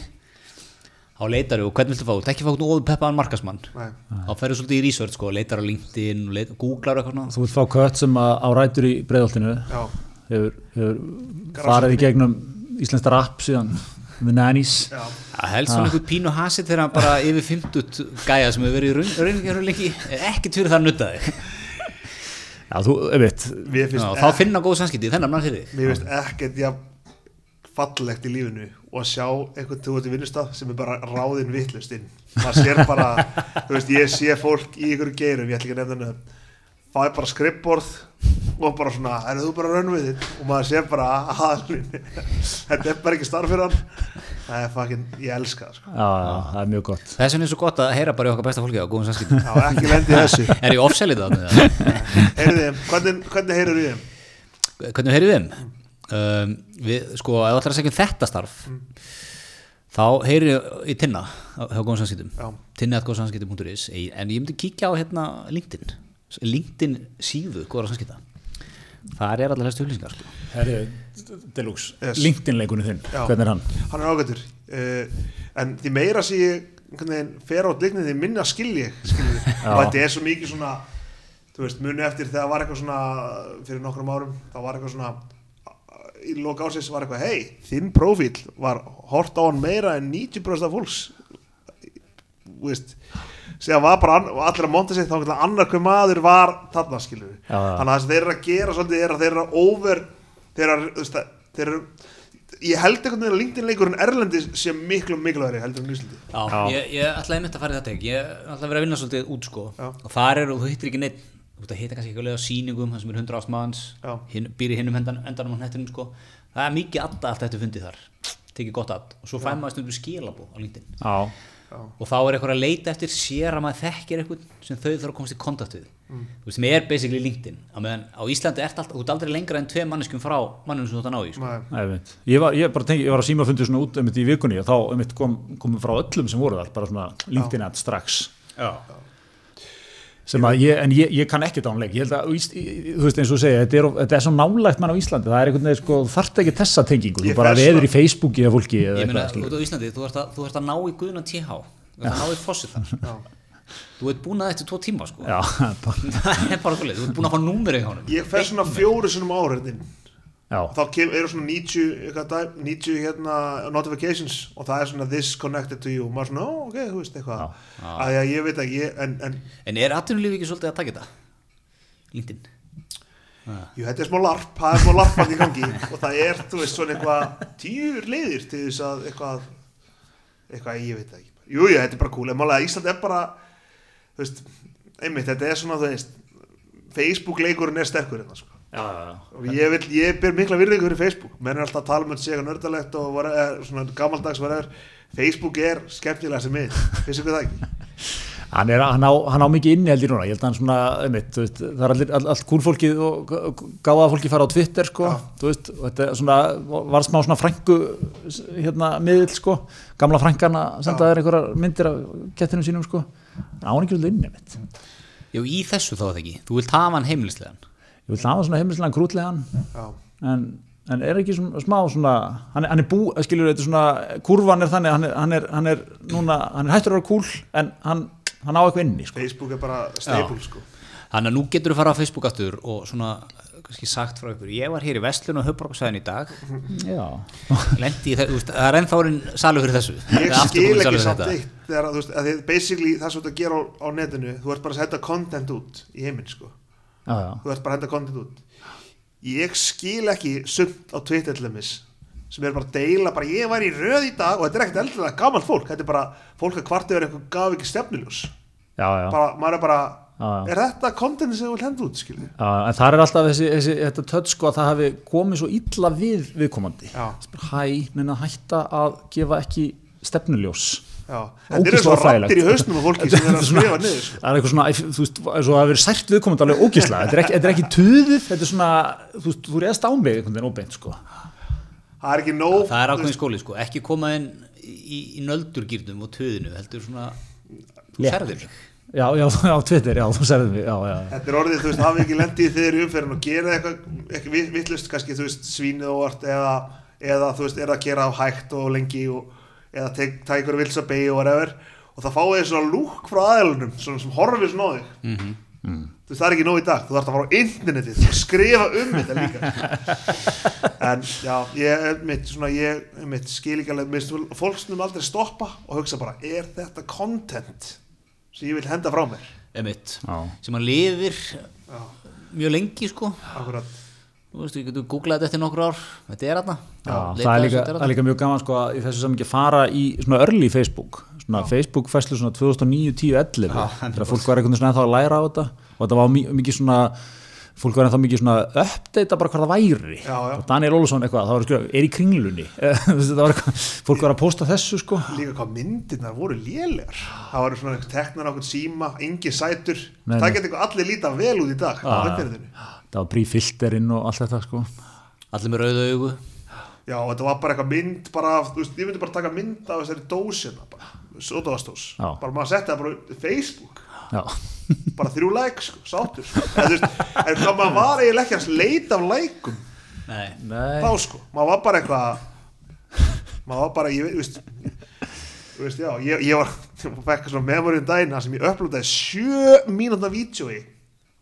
Þá leitar þú, hvernig viltu fá, þú ekki fá okkur óðpeppaðan markasmann
Nei.
þá ferðu svolítið í research sko, leitar á LinkedIn og leit, googlar eitthvað svona
þú vilt fá kött sem að á rætur í breyðoltinu
já,
hefur, hefur farið
Grasrótin.
í gegnum Íslands rap síðan The Nannies.
já,
Það helst
Ah.
svona einhvern pínu hasið þegar hann bara yfir 50 gæja sem hefur verið í rauningjöru lengi ekkert fyrir það að nutta þig
Já, þú, einmitt,
mér
Já,
finnst
og þá finna góð samskipti, þennan mann fyrir þig
Mér finnst ekkert já, fallegt í lífinu og að sjá eitthvað þú ert í vinnustaf sem er bara ráðin vittlust inn það sér bara, þú veist, ég sé fólk í ykkur geirum, ég ætla ekki að nefna nöfn það er bara skrippborð og bara svona, er þú bara raun við þitt og maður sér bara aðalinn þetta er bara ekki starf fyrir hann það er fakkin, ég elska það sko.
já, já, það er mjög gott.
Þess vegna er svo gott að heyra bara í okkar besta fólki á góðum samskipti
Já, ekki lendi í þessu
Er ég offsælið það?
sko. Heyrðu þeim, hvernig, hvernig heyrðu þeim?
Hvernig heyrið þeim? Um, við, sko, ef þú ætlar að segja um þetta starf þá heyrið ég í Tinna á- hjá góðum
Já.
samskiptum tinna.góðsamskipti.is en ég myndi kíkja á hérna LinkedIn LinkedIn síðu góðra samskipta þar er allar hægstu huglýsingar sko.
Herri, Deluxe,
Yes.
LinkedIn-leikunni þinn,
Já.
hvernig er hann?
hann er ágættur uh, en því meira sem ég einhvern veginn fer át líknið því minna skil ég skil ég. og þetta er svo mikið svona þú veist, muni eftir þegar var eitthvað svona fyrir nokkrum árum, þá var eitthvað svona í loka ásins var eitthvað hei, þinn prófíl var hort á hann meira en 90% af fólks þú veist sem var bara ann- allir að monta sig þá annar hver maður var þarna skilur við
Já, já.
þannig að það sem þeir eru að gera svolítið er að þeir eru að over þeir eru, þú veist, að- þeir eru ég held einhvern veginn að LinkedIn leikurinn Erlendis sé miklu mikluðari heldur en Íslandi
Já, Ég, ég ætlaði mitt að fara í þetta ekki, ég ætlaði að vera að vinna svolítið út sko
Já.
og þar eru, þú hittir ekki neitt þú veit að hitta kannski eitthvað leið á sýningum það sem er 100 ást manns,
Já.
hin, býr í hinnum endan, endanum á hnettinum sko það er mikið adda allt þetta fundið þar tekið gott add og svo fæ maður stundum skilabó á LinkedIn
Já,
og þá er eitthvað að leita eftir sér að maður þekkir eitthvað sem þau þarf að komast í kontakt við
Mm.
þú veist, sem er basically LinkedIn á meðan á Íslandi ert alltaf, þú ert aldrei lengra en tvei manneskum frá mannum sem þú ert að ná í sko.
Nei.
Æfitt. Ég var, ég, bara tengi, ég var að síma fundið svona út um í vikunni og þá um kom, komum frá öllum sem voru þar, bara svona LinkedIn ad strax.
Já.
Sem að ég, en ég, ég kann ekki dánleik, ég held að, á Ís- í- þú veist eins og þú segja, þetta er, of- þetta er svo nálægt mann á Íslandi, það er einhvern veginn, sko, þú þarft ekki þessa tengingu,
Ég
þú bara
fer
veður
svona-
í Facebooki eða fólki eða
Ég meina,
eitthvað, skilur.
út á Íslandi, þú ert að, þú ert að ná í guðuna TH, þú ert að ná í fossið þar. Þú ert búin að þetta í tvo tíma, sko.
Já, bara-
Það er bara svolítið, þú ert búin að fá númerið hjá honum.
ég fer svona fjóru sinum áriðin
já,
hérna þá kem, eru svona 90, eitthvað, dæ- 90 hérna, notifications og það er svona this connected to you og maður svona, ó, ok, þú veist eitthvað að ég, ég veit ekki, ég, en, en
En er atvinnulífi ekki svolítið að taka þetta? LinkedIn.
Jú, þetta er smá larp, það er smá larp í gangi og það er, þú veist, svona eitthvað tíur leiðir til þess að eitthvað, eitthvað, ég veit það ekki. Jú, jú, þetta er bara cool, en málega Ísland er bara, þú veist, einmitt, þetta er svona, þú veist, Facebook-leikurinn er sterkur hérna, sko.
já, já, já.
Og ég, vil, ég ber mikla virðingu fyrir Facebook, menn er alltaf að tala um þetta sé eitthvað nördalegt og var, er, svona gammaldags verður, Facebook er skemmtilega sem mið, finnst ykkur það ekki?
Hann, er, hann, á, hann á mikið inni held ég núna, ég held að hann svona, einmitt, þú veist, það er allir, all, allt kúlfólkið og gáða fólki fara á Twitter sko, þú veist, og þetta er svona, var smá svona frængu hérna miðil sko, gamla frængana senda þér einhverjar myndir af kettinum sínum sko, hann á hann ekki alveg inni mitt.
Já, í þessu þá er það ekki. Þú vilt hafa hann heimilislegan.
Ég vil hafa svona heimilslega krútlegan,
Já,
en, en er ekki svona, smá svona, hann, er- hann er bú, skilur þetta er svona, kurvan er þannig, hann er, hann er, hann er núna, hann er hættur að vera kúl, en hann, hann á eitthvað inni sko.
Facebook er bara staple, sko.
Þannig að nú getur þú fara á Facebook aftur og svona, eh, kannski sagt frá ykkur, ég var hér í Vestlun og Höfbroksæðin í dag,
Já.
lendi í þessu, það er ennþárin salu fyrir þessu.
ég
Það er aftur
skil
kominn
ekki
salur fyrir
samt
þetta.
eitt þegar að, þú veist, að þið, basically það sem þú ert að gera á, á netinu þú ert bara að senda content út í heiminn sko.
Já, já.
þú ert bara að henda content út ég skil ekki sumt á Twitter til þeimis sem er bara að deila, bara ég var í röð í dag og þetta er ekkert eldilega gaman fólk þetta er bara fólk að kvartu er eitthvað gaf ekki stefnuljós
Já, já.
bara, maður er bara,
Já, já.
er þetta content sem þú vil henda út skilur
Já, en það er alltaf þessi, þessi þetta tött sko að það hafi komið svo illa við viðkomandi.
Já.
Bara, Hæ, menn að hætta að gefa ekki stefnuljós.
Já, þetta er eins og rattir í hausnum og fólki sem er að skrifa niður sko.
það er eitthvað svona, æf- þú veist, eins og það hefur verið sært viðkomandi alveg ógislega, þetta er ekki, þetta er ekki tuðið, þetta er svona, þú veist, þú reyðast á mig einhvern veginn óbeint, sko.
það er ekki nóg
það er ákveðin skóli sko, ekki koma inn í, í nöldurgýrnum og töðinu heldur svona, þú
Létt.
serður þig.
Já, já, á Twitter, já, þú serðið mig, já, já.
Þetta er orðið, þú veist, hafi ekki lendið þegar í umferðin og gera eitthvað eitthvað vit- vitlust, kannski, þú veist, svínið óvart eða, eða, þú veist, er að gera á hægt og lengi og, eða tek- taka ykkur vils að beigja og whatever og það fáið þér svona lúk frá aðeilunum svona sem horfið svona á þig þú veist, það er ekki nóg í dag, þú þarf að fara á internetið og skrifa um þetta líka en, já, ég mitt, svona, ég mitt, skil ekki alveg minnst, fólk snum aldrei stoppa og hugsa bara, er þetta content sem ég vil henda frá mér
emitt,
Já.
sem hann lifir mjög lengi sko
akkurat
þú veist, ég getur googlað þetta eftir nokkur ár þetta er aðna
Já, það er, líka, það er líka mjög gaman sko að í þessu samingi fara í svona early Facebook svona Facebook fæslu svona 2009, 10, 11 þegar fólk var einhvern veginn svona ennþá að læra á þetta og þetta var mi- mikið svona fólk var ennþá mikið svona að uppdata bara hvað það væri
Já, já.
Og Daniel Olsson eitthvað, það var skrifað, er í kringlunni Þú veist, þetta var eitthvað, fólk var að posta þessu sko
líka hvað myndirnar voru lélegar það voru svona teknar okkur síma engin sætur,
Nei,
það
nei. Ah.
getur eitthvað allir líta vel út í dag á netverðinu.
það var prífilterinn og allt þetta sko
allir með rauðu augu
já, og þetta var bara eitthvað mynd bara, af- þú veist, ég myndi bara taka mynd af þessari dósina bara, sótavastós,
Já.
bara maður setti það bara á Facebook,
já,
bara þrjú like sko, sátur sko. en, þú veist, en hvað maður var eiginlega ekki að leita af lækum
Nei.
Nei.
þá sko, maður var bara eitthvað maður var bara, ég veit, veist þú veist, já, ég, ég var ég fekk svona memoryn dæna sem ég upplótaði sjö mínútna vídjói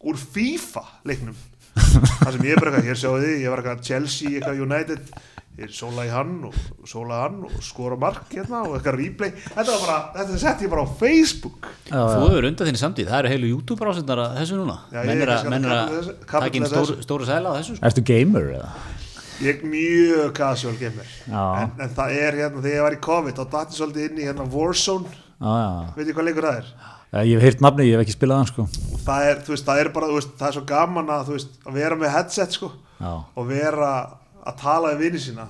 úr FIFA leiknum það sem ég er bara eitthvað, hér sjáu þið ég var eitthvað Chelsea, eitthvað United ég sóla í hann og sóla hann og skora mark hérna og eitthvað replay þetta var bara, þetta sett ég bara á Facebook
Já, já.
þú hefur undan þinni samtíð, það eru heilu YouTube ásendar að þessu núna,
Já, ég
menn
er
er að,
kannski
menn er
að
að
kapitla þessu-
taka inn
kapitla
stóru, stóru sæla á þessu sko.
ertu gamer eða?
ég er mjög casual gamer
Já.
en, en það er hérna, þegar ég var í COVID þá dætti svolítið inn í hérna Warzone
Já, já.
veit ég hvað leikur það er?
ég hef heyrt nafni, ég hef ekki spilað hann sko
og það er, þú veist, það er bara, þú veist, það er svo gaman að, þú veist, að vera með headset, sko,
Já.
og vera að tala við vinni sína,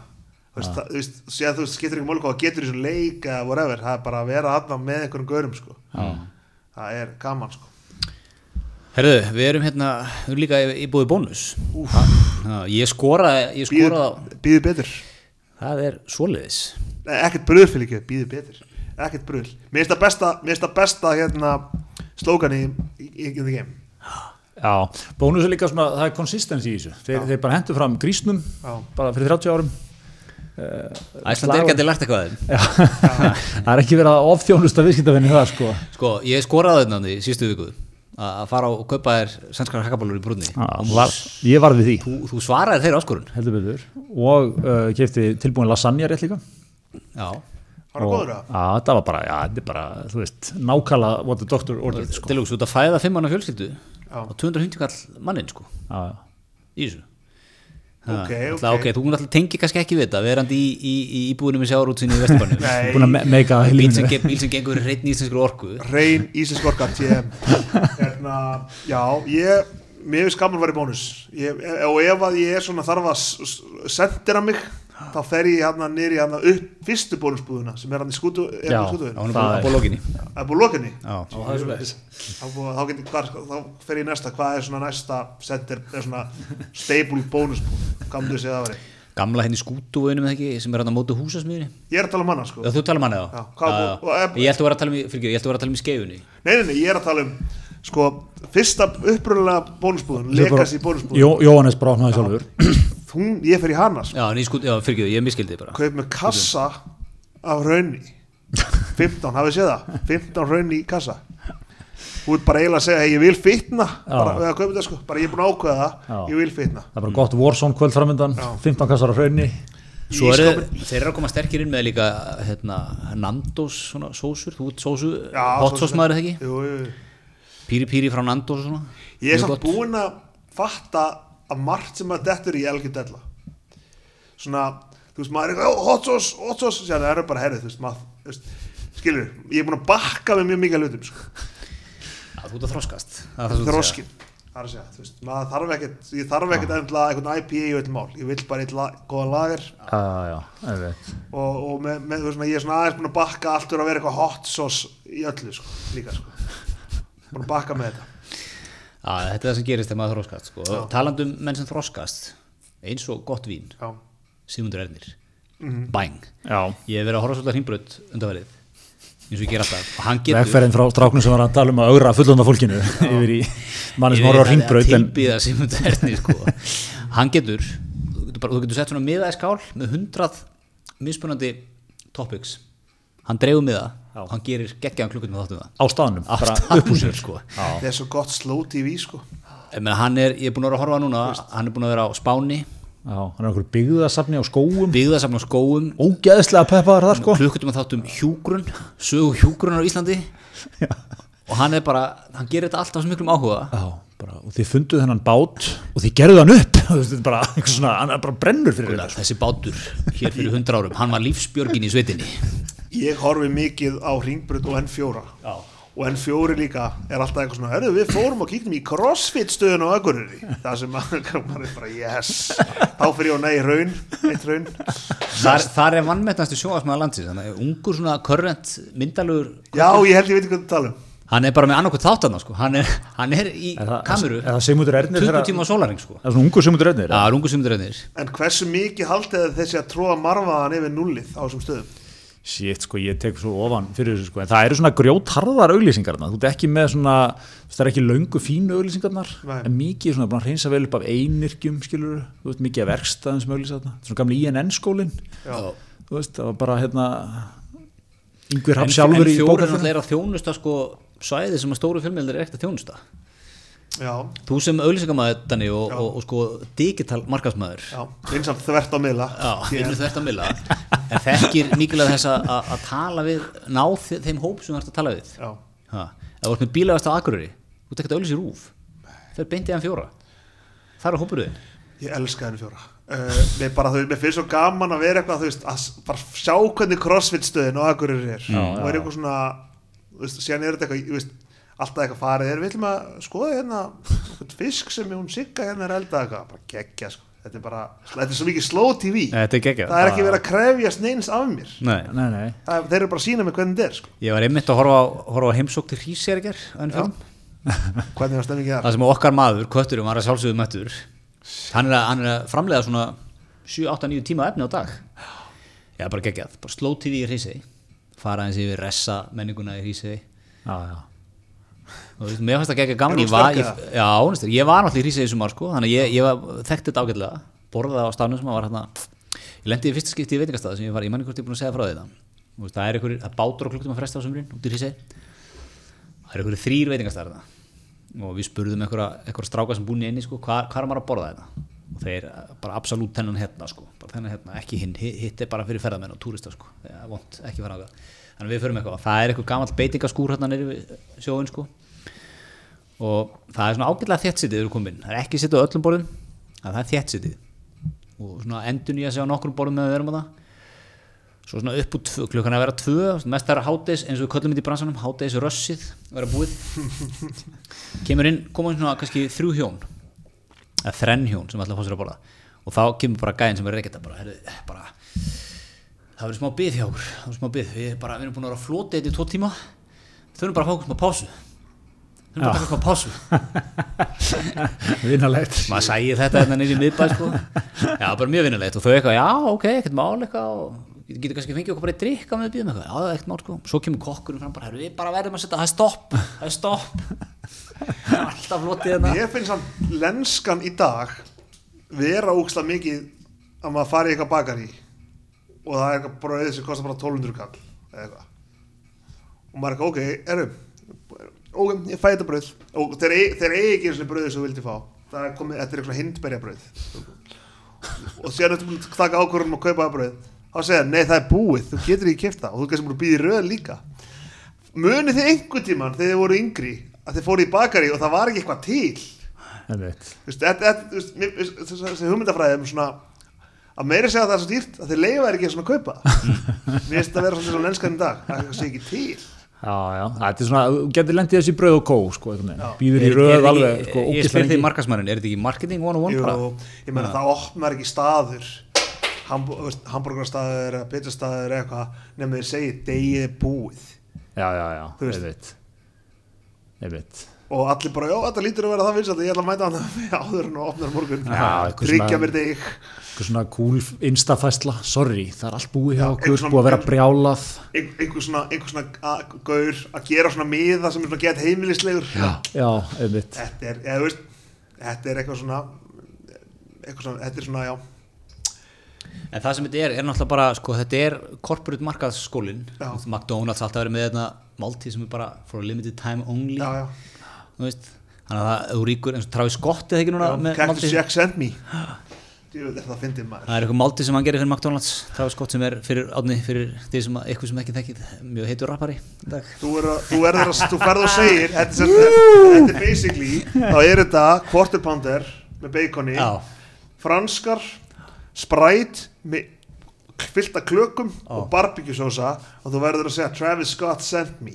þú veist, það, þú veist, séð, þú veist, skiptir ekki málkóð, getur í svo leik eða whatever, það er bara að vera aðna með einhverjum gaurum, sko, Já. það er gaman, sko,
herðu, við erum hérna við erum líka í, í búið bónus Ha, ég skoraði ég skoraði á-
býðu, býðu betur,
það er svoleiðis
Nei, ekkert bröð fyrir ekki, býðu betur, ekkert bröð, mér finnst það besta, mér finnst það besta, hérna, slókan í, í, í, in the game,
Já, bónus er líka svona, það er konsistens í þessu þeir, þeir bara hendur fram grísnum
Já.
bara fyrir 30 árum
Æsland er gæti lært eitthvað af þeim.
það er ekki verið að ofþjónusta viðskiptafinni það sko
Sko, ég skoraði þetta í sístu viku að að fara og kaupa þér sænskara hakkabólur í brunni
var, ég varð við því
þú, þú svaraði þeirra áskorun
heldur betur og uh, kefti tilbúin lasagna rétt líka
Já,
var það góður
að?
að,
það var bara, já, þetta er bara, þú veist nákala what the doctor ordered sko
til þú ert að fæða fimm manna fjölskyldu
Já.
og 250 kall mannin sko
Já, já.
í þessu
Ok,
Ha,
ok.
náttúrulega, ok, þú náttúrulega tengir kannski ekki við þetta verandi í, í, í íbúinu með sjáarútsinni í Vesturbanum
nei,
búin að me- meika það í
bíl, sem
lífinu.
ge- bíl sem gengur reynd íslenskur orku
reyn ísinskorka TM hérna, já, ég mér finnst gaman að vera í bónus ég, og ef að ég er svona þarf að s- s- sendera mig, þá fer ég hérna nýri hérna upp fyrstu bónusbúðuna sem er hann í skútu, er
Já,
hann í skútu
á honum
Það
á
er-
bólóginni
það er búið lokinni
Já,
þá, búið- þá, geti, hvar, þá fer ég í næsta, hvað er svona næsta sender, er svona stable bónusbúð, gamlu séð að veri
gamla henni skútuvöinu með ekki sem er hann á mótu húsasmiðinni
ég er að tala um hana sko
Já, þú tala um hana
Já,
þá
hvað
Já,
bú- og-
Ég ætti að vera að tala um í- fyrirgefðu, ég ætti að vera að tala um í skeifunni
nei, nei, nei, ég er að tala um sko, fyrsta upprunalega bónusbúðun,
Þetta er bara-
lekas í bónusbúðun
Jó- Jóhannes bráknaði sjálfur
hún, ég fer í hana sko
Já, ný skútu, já, fyrirgefðu, ég miskildi bara
kaup með kassa af raunni 15, hafið séð það 15 raunni í kassa þú ert bara eiginlega að segja, hey, ég vil fitna bara, við að kaupa þetta sko, bara ég er búin að ákveða það
Já.
ég vil fitna
það er bara gott Warzone kvöld framöndan 15 kassar á hraunni
Svo
Í
eru
ísskápinn.
þeir eru að koma sterkir inn með líka hérna, Nandos svona, sósur, þú ert sósu
Já,
hot
svo
sós
sem-
maður eða ekki,
jú, jú, jú.
píri píri frá Nandos og svona.
ég
Mjög
er samt
gott.
búin að fatta að margt sem að dettur í elgjum della svona, þú veist, maður er eitthvað, "Ó, hot sauce, hot sauce sér það eru bara herrið, þú veist, maður þú veist, skilur, ég er búin að bakka með mjög mikið af hlutum sko.
Já, þú ert að þroskast Það er það sem þú ert að segja.
þroskin það er að segja, þú veist, maður þarf ekkert ég þarf ekkert endilega einhvern IPA og eitthvað mál ég vil bara eitthvað góða lager
Já, já, einmitt.
og, og með, með, þú veist, maður ég er svona aðeins búin að bakka aftur að vera eitthvað hot sauce í öllu, sko, líka, sko búin að bakka með þetta
Já, þetta er það sem gerist þegar maður þroskast sko. Og talandi um menn sem þroskast eins og gott vín,
já,
Sigmundur Ernir
Mhm.
Bang,
Já.
ég hef verið að horfa svolítið að hringbröð undanverið eins og ég ger alltaf og hann getur
Vegferðin frá stráknum sem var að tala um að augra fullanda fólkinu yfir í manni sem horfður á ringbraut en
tilbýða Sigmundur Ernir sko. hann getur, þú getur, bara, þú getur sett svona miðaði skál með hundrað mismunandi topics hann dreifur miða
Já.
og hann gerir geggjaðan klukkutum að þáttum það
á staðnum, bara
Allt
upp úr sér.
annað, sko.
Já.
þetta er svo gott slow TV, sko
Ég meina, hann er, ég er búin að vera að horfa núna hann er búin að vera á Spáni
Já, hann er okkur byggðasafni á skóum,
byggðasafn á skóum
ógeðslega peppaðar þar sko.
klukkutum að þáttum hjúgrun sögu hjúgrunar á Íslandi og hann er bara, hann gerir þetta alltaf sem miklum áhuga
Já, bara, og þið funduð hennan bát og þið gerðuð hann upp, þú veist, þetta er bara, einhver svona, hann er bara brennur fyrir þetta.
þessi bátur hér fyrir hundra árum hann var lífsbjörgin í sveitinni
ég horfi mikið á Ringbrut og N4
Já.
og N4 líka er alltaf eitthvað svona, herru við fórum og kíktum í crossfit stöðun á ögurri það sem að, maður er bara yes þá fyrir ég og nei, raun, eitt raun
þar, þar er vannmettnastu sjóasmaða landsins þannig að ungur svona körrent myndalugur
já, ég held ég veit ekki hvað það tala um
hann er bara með annarkvæmt þáttan sko. hann, er, hann er í
Er það-
kameru
er það Sigmundur Ernir
20
þegar-
tíma á sólaring sko.
Það er svona ungu sem út reynir.
það er ungur sem dröðnir
en hversu mikið haldið þið þessi að tróða marfaðan yfir nullið á þessum stöðum
Shit, sko, ég tek svo ofan fyrir þessu, sko, en það eru svona grjótharðar auglýsingarna, þú ert ekki með svona, það er ekki löngu fínu auglýsingarnar,
Nei.
en mikið svona búin að reynsa vel upp af einirkjum, skilur, þú veist, mikið af verkstæðum sem auglýsa þarna, svona gamli INN skólinn,
Já.
þú veist, það var bara, hérna, yngvir
en, en
hafn sjálfur í
fjórir
bókallinu.
náttúrulega er að þjónusta sko, svæði sem að stóru fjölmiðlir er ekkert að þjónusta
já,
þú sem auðlýsingamæður Danni og, og, og sko digital markasmæður
já, vinsamt þvert á miðla
Já,
Ég-
finnur þetta að milla en þekkir mikilvæg þess að- að að tala við ná þe- þeim hóp sem þú ert að tala við
já.
ha, ef þú ert með bílavast á Akureyri þú tekur þetta auðlýs í rúf fer beintið hann fjóra þar er hópur þau
ég elska N4 uh, mér bara, þú veist, mér finnst svo gaman að vera eitthvað, þú veist, að s- bara sjá hvernig crossfit stöðun á ögurri er og er eitthvað svona, þú veist, síðan er þetta eitthvað, þú veist, alltaf eitthvað farið er, við ætlum að skoða hérna einhvern fisk sem hún sigga hérna er eldað eitthvað, bara geggja, sko, þetta er bara þetta er svo mikið slow TV,
Þetta er geggjað.
það er ekki verið að krefjast neins af mér
Nei.
Nei, nei.
Það- þeir eru bara að sína mig hvernig þetta er, sko
ég var einmitt að horfa á, horfa á heimsók til Hrísjærger það
hvernig var stemmingi þar,
sem okkar maður, kötturum, var að sjálfsögðu mættur hann er að, hann er að framlega svona 7, 8, 9 tíma efni á dag já, bara geggjað, bara slow tv í Hrísjæ fara eins yfir ressa menninguna í Hrísjæ
Já, já.
Þú veist, mér fannst það ekki gaman
Er hún
ég var, ég,
sterk
já, hún er sterk, ég var náttúrulega í Rísið í sumar sko, þannig að ég, ég var, þekkti þetta ágætlega borðaði á stafnum sem að var hérna ég lendi í fyrsta skipti í veitingastað sem ég var, ég manni hvort ég er búin að segja frá því þetta Þú veist, það er einhverjir, það er bátur og klukktum að fresta á sumrin út í Rísið það er einhverjir þrýr veitingastaðar þetta og við spurðum einhverja, einhverja stráka sem búin í einni sko, hvað, hvað er maður að borða þetta og þeir eh, bara absolutt þennan hérna sko, bara þennan hérna, ekki hinn, Hi- hitt er bara fyrir ferðamenn og túrista sko, það er vont, ekki fara á það þannig að við förum eitthvað, það er eitthvað gamall beitingaskúr hérna nýri sjóin sko og það er svona ágætlega þéttsitið þegar við komum inn, það er ekki sittið á öllum borðum en það er þéttsitið og svona endur nýja sig á nokkrum borðum með við erum á það svo svona upp úr tvö, klukkan er að vera tvö svona mest það er hátdeis, eins og við köllum þetta í bransanum hátdeis rössið, vera búið kemur inn, koma inn svona kannski þrjú hjón eða þrenn hjón sem ætla að fá sér að borða og þá kemur bara gæðin sem er reykjata bara, herri, bara það verður smá bið hjá okkur það verður smá bið, við, bara, við erum búin að vera að flóta þetta í tvo tíma þurfum bara að fá okkur smá pásu þurfum bara að fá okkur smá pásu
Vinnalegt.
maður sæði þetta hérna nýri miðbæð sko. já, bara mjög vinnulegt og þau eitthvað, já, ok, ekkert mál eitthvað og við getum kannski fengið okkur bara eitt drikk á með býðum eitthvað, já, það er ekkert mál sko svo kemur kokkurinn fram bara, "Herru, við bara verðum að setja það er stopp, það er stopp alltaf flotið hérna
ég finnst hann lenskan í dag vera úksla mikið að maður fari í eitthvað bakari og það er eitthvað bröð sem kostar bara 1200 kall eða eitthvað og maður er eitthvað, ok, erum ok, ég fæ þetta bröð og þeir, eigi- þeir eigi ekki eins og bröði sem þú vildi fá það er komið, þetta er eitthvað hindberja bröð og síðan ertu búin að taka ákvörðum að kaupa það bröð þá segja, nei það er búið, þú getur ekki kipta og þú kannski búin að býða í röð líka munið þið einhvern tíman þegar þið voru yngri að þið fóru í bakari og það var ekki eitthvað til
Einmitt.
Þú veist, þetta- þetta- þú veist, mér- þú veist, þessi hugmyndafræði um svona að meira segja að það er svo dýrt að þeir leifa er ekki svona að kaupa mér finnst þetta að vera svolítið svona lenskan í dag það er eitthvað sé ekki til
Já, já, þetta er svona, þú getur lendið þessi bröð og kó, sko, einhvern veginn. býður í
Er- er
röð
þetta
alveg,
ekki-
sko,
Ég
ógislega
spyr þig
lengi.
markasmærin, er þetta ekki marketing one on one
Jú,
bara?
ég meina það opnar ekki staður hambú- þú veist, hambúrgarstaður eða pizzastaður eða eitthvað nefnum þeir segi degið er búið
Já, já, já,
Þú veist.
einmitt, einmitt.
og allir bara, já þetta lítur að vera það vinsalt ég ætla að mæta hann áður en þú opnar á morgun
Já, eitthvað
tryggja
svona-
mér deg
Eitthvað svona cool instafæsla, sorry, það er allt búið hjá okkur,
eitthvað svona-
búið að vera brjálað.
einhver svona, einhver svona a- gaur að gera svona miða sem er svona gett heimilislegur
Já, einmitt,
þetta er, eða þú veist þetta er eitthvað svona eitthvað svona, þetta er svona, já,
En það sem þetta er, er náttúrulega bara, sko, þetta er corporate markaðsskólin,
Já.
McDonalds alltaf verið með þetta máltíð sem er bara for a limited time only,
já, já
þú veist, þannig að það, þú ríkur eins og Travis Scott eða ekki núna með
Cactus
máltíð,
Jack sent me Djöfull er það að fyndið maður
það er eitthvað máltíð sem hann gerir fyrir McDonalds, Travis Scott sem er fyrir átni, fyrir því sem, að- ykkur sem ekki þekkið, mjög heitur rappari í dag.
Þú, er, að- þú, er að, þú ferð og segir þetta er, sem, þetta er basically þá er þetta quarter pounder með baconi
Já.
franskar, spræt með fyllt af klökum og barbecuesósa og þú verður að segja Travis Scott sent me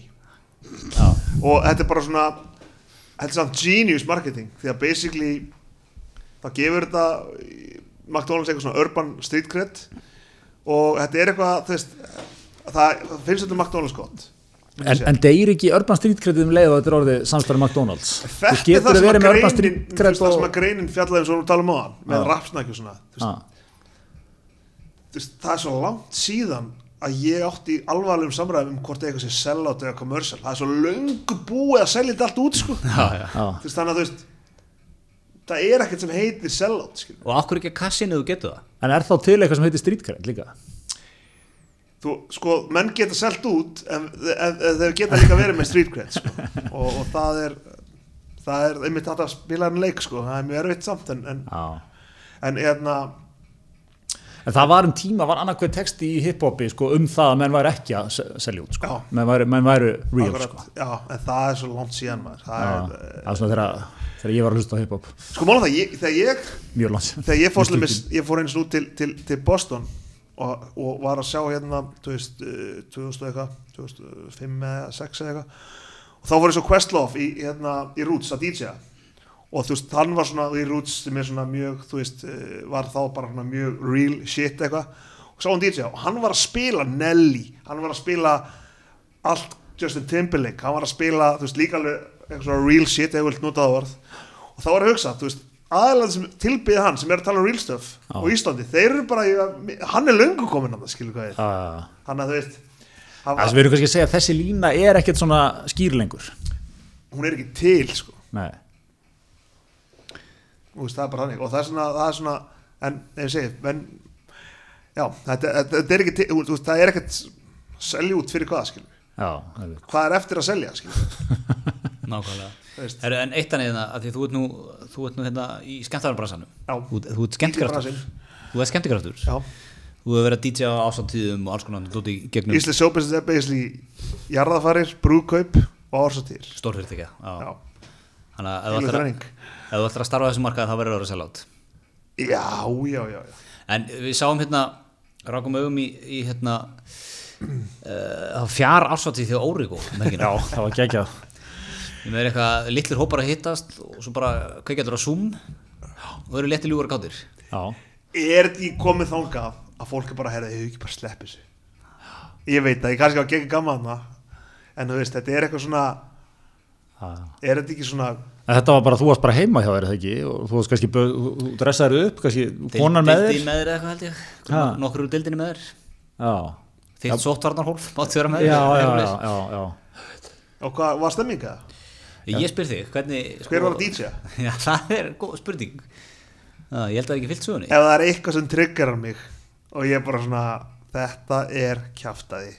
Já.
og þetta er bara svona þetta er samt genius marketing því að basically þá gefur þetta í- McDonalds eitthvað svona urban street cred og þetta er eitthvað þú veist, það, það finnst þetta McDonalds gott
en,
myndi ég segja.
en deyr ekki Urban Street Credit um leið og þetta er orðið samstæður McDonalds. Þú
Þetta er
getur
það
að
sem
vera
að
með Urban
greinin,
Street
þú veist,
Credit
það sem að
og...
greinin fjallaði eins og við talum á hann með
Já.
rapsnækju svona þú veist,
Ah,
þú veist, það er svo langt síðan að ég átti í alvarlegum samræðum um hvort eitthvað sé sellout eða commercial það er svo löngu búið að selja þetta allt út sko. þú
Já, já.
já,
veist, þannig að þú veist það er ekkert sem heitir sellout skilur.
Og okkur ekki að kassinu þú getur það?
en er þá til eitthvað sem heitir Street Credit líka?
þú, sko, menn geta sellt út en, en, en þeir geta líka verið með street cred sko. og, og það er það er einmitt hægt að spila hann leik sko. það er mjög erfitt samt en, en,
Já.
en hérna
En það var um tíma, var annarkveð text í hiphopi sko, um það að menn væri ekki að se- selja út, sko.
Já.
menn, væri, menn væri real.
Akkurat,
Sko.
já, en það er svo langt síðan maður það
Já,
er, uh,
það er svona þegar, þegar ég var að hlusta á hiphop,
eh, sko mála það, ég, þegar ég
mjög langt.
þegar ég fór,
Mjög
slimis, ég fór eins nú til, til, til Boston og, og var að sjá hérna þú veist, eh, 2000 og eitthvað 2005 eða 6 eða eitthvað og þá fór ég svo Questlove í, hérna, í Roots að DJ-a og þú veist, hann var svona í Roots sem er svona mjög, þú veist, eh, var þá bara svona mjög real shit eitthvað og sá hann DJ-a og hann var að spila Nelly, hann var að spila allt Justin Timberlake hann var að spila, þú veist, líka alveg eitthvað svona real shit eða vilt notað orð og þá var að hugsa, þú veist, aðalega sem tilbyði hann sem er að tala um real stuff á Íslandi, þeir eru bara, í- hann er löngu kominn að það, skilur hvað ég, er.
Já, já, já.
hann að þú veist hann,
Það sem við erum kannski að segja, þessi lína er ekkert svona skýr lengur.
hún er ekki til, sko
Nei.
Þú veist, það er bara þannig og það er svona, það er svona en ef ég segi, menn já, þetta, þetta, þetta er ekki til, þú veist, það er ekkert selja út fyrir hvað, skilur
Já, einmitt.
hvað er eftir að selja, skilur
Nákvæmlega.
Þú veist.
Heru, en eitt annað hérna, af því að þú ert nú, þú ert nú hérna í skemmtarnabransanum.
Já.
Þú, þú ert skemmtikraftur.
bransinn.
Þú ert skemmtikraftur.
já,
Þú hefur verið að DJ á ásatíðum og alls konar dóti í gegnum Ísl...
Ísli Sjópins er basically jarðafarir, brúkaup og ársatýr
stórfyrirtækja.
já,
Þannig að ef þú
heilu
ætlar að-
þræning
ef þú ætlar að starfa á þessum markaði þá verður það að vera sellátt.
já, já, já, já.
En við sáum hérna, rákum augum í, í hérna, uh, fjár ásatíð þegar Órigo.
Já, það var geggjað.
Ég með eitthvað litlir hópar að hittast og svo bara kveikjaður á Zoom og eru léttiljúar gáttir.
Já,
er því komið þangað að fólk er bara að herða, ég hef ekki bara sleppið þessu ég veit það, ég kannski á gegn gaman þarna, en þú veist, þetta er eitthvað svona
já.
er þetta ekki svona
En þetta var bara, þú varst bara heima hjá þér, er það ekki? Og þú varst kannski, bau- þú- þú dressaður upp, kannski konan með
Deildi
þér.
með þér eða eitthvað held ég.
Ha.
Nokkur úr deildinni með þér.
Já,
Þitt sóttvarnarhólf máttu vera
já,
með þér.
já,
eitthvað
já,
svoleiðis.
já, já.
og hvað var stemminga?
Ég spyr þig, hvernig...
Hver var að DJ-a?
Já, það er góð spurning. Já, ég held að það er ekki fyllt sögunni.
ef það er eitthvað sem triggerar mig og ég er bara svona, þetta er kjaftaði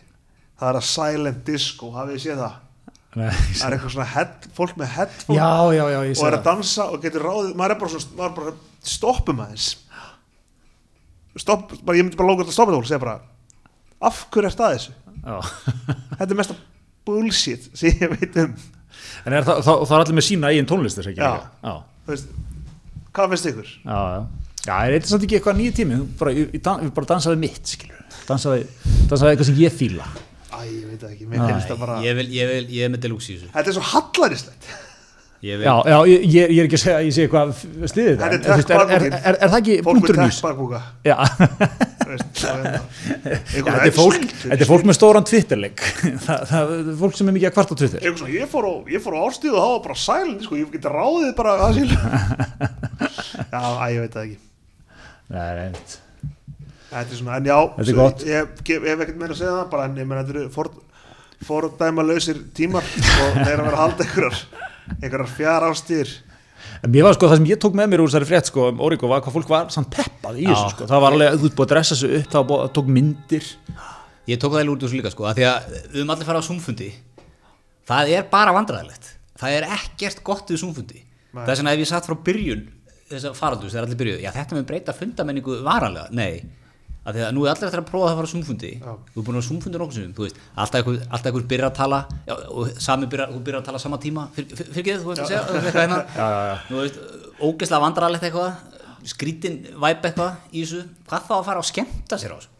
það er að silent disco, hafið þið séð það?
Nei.
það er eitthvað svona head, fólk með headphone
Já, já, já, ég
og
sé
er að
það.
dansa og getur ráðið maður er bara svona, maður er bara stoppum aðeins stopp, bara, ég myndi bara lóka þetta að stoppa þetta fólk og segja bara af hverju er það þessu?
Já.
þetta er mesta bullshit sem ég veit um
En er það, það, það er allir með sína eigin tónlist þess ekki?
Já.
líka? Já,
Þú veist, hvað finnst ykkur?
já, já. Já, er þetta samt ekki eitthvað nýju tími? Þú Bara, ég, ég, dan, ég bara dansaði mitt, skilur. Dansaði, dansaði eitthvað sem ég fíla.
Á, Æ, ég veit það ekki, mér finnst það bara
Ég vil, ég vil, ég er með deluxe í þessu
Þetta er svo hallarislegt
Ég vil,
Já, já, ég, ég ég er ekki að segja, ég sé eitthvað stiðið
Þetta er
þetta, en þú veist, er, er,
tech-bakpokin.
er, er, er það ekki
Fólk með
punkturinn í þessu?
tekbakbúka
Já,
hérna
þetta er fólk, þetta er fólk með stóran Twitterleik, það, það er fólk sem er mikið að kvarta á Twitter.
Eitthvað svona, ég fór á, ég fór á árstíð og það var bara sælindi, sko, ég geti ráðið bara að síl. já, æ, ég veit það ekki.
Nei, reynd.
Þetta er svona, en já,
Þetta er
svo-
gott.
ég gef- ég hef ekkert meira að segja um það, bara en ég menn þetta eru for, fordæma lausir tímar og þeir eru að vera að halda einhverjar, einhverjar fjár árstíðir.
En mér var sko það sem ég tók með mér úr þessari frétt sko um Origo var hvað fólk var samt peppað í þessu sko. Það var alveg, þú ert búið að dressa þessu upp, það var búið að tók myndir.
ég tók það eiginlega út úr þessu líka sko að Því að við höfum allir fara á Zoom-fundi Það er bara vandræðilegt Það er ekkert gott við Zoom-fundi
Nei.
Það er svona ef ég satt frá byrjun Þess að faraldus, þegar allir byrjuðu Já, þetta með breyta fundamenningu varanlega, nei að Því að nú er allir eftir að prófa það að fara á Zoom-fundi
Já.
Þú er búin að vera á Zoom-fundi nokkuð sem Þú veist, alltaf einhver, alltaf einhver byrjar að tala já, Og sami byrjar, þú byrjar að tala sama tíma Fyr- fyr- Fyrirgeðu, þú veist að segja eitthvað hérna. Nú veist, ógeðslega vandræðilegt eitthvað Skrítin væp eitthvað í þessu Hvað þá að fara að skemmta sér á þessu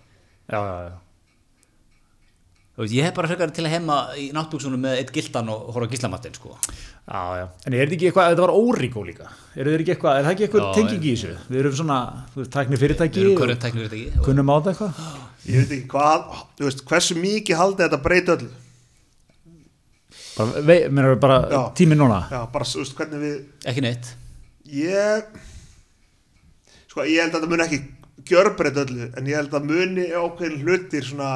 Já, já, já.
Þú veist, ég hef bara frekar til að heima í náttbúksunum með eitt gildan og horfa gíslamattin sko.
Já, já. En er þetta ekki eitthvað, þetta var Origo líka. Er þetta ekki eitthvað, er það ekki eitthvað
Já,
tenging í þessu? Við erum svona, þú veist, tækni fyrirtæki.
Við erum körrent tæknir þetta ekki. Og...
Kunnum á þetta eitthvað?
Ég veit ekki hvað, þú veist, hversu mikið haldi þetta breyta öllu.
Bara, vei, mér erum bara
Já.
tíminn núna.
Já, bara, þú veist, hvernig við,
Ekki neitt.
Ég Sko, ég held að þetta muni ekki gjörbreyta öllu, en ég held að muni ákveðin hlutir svona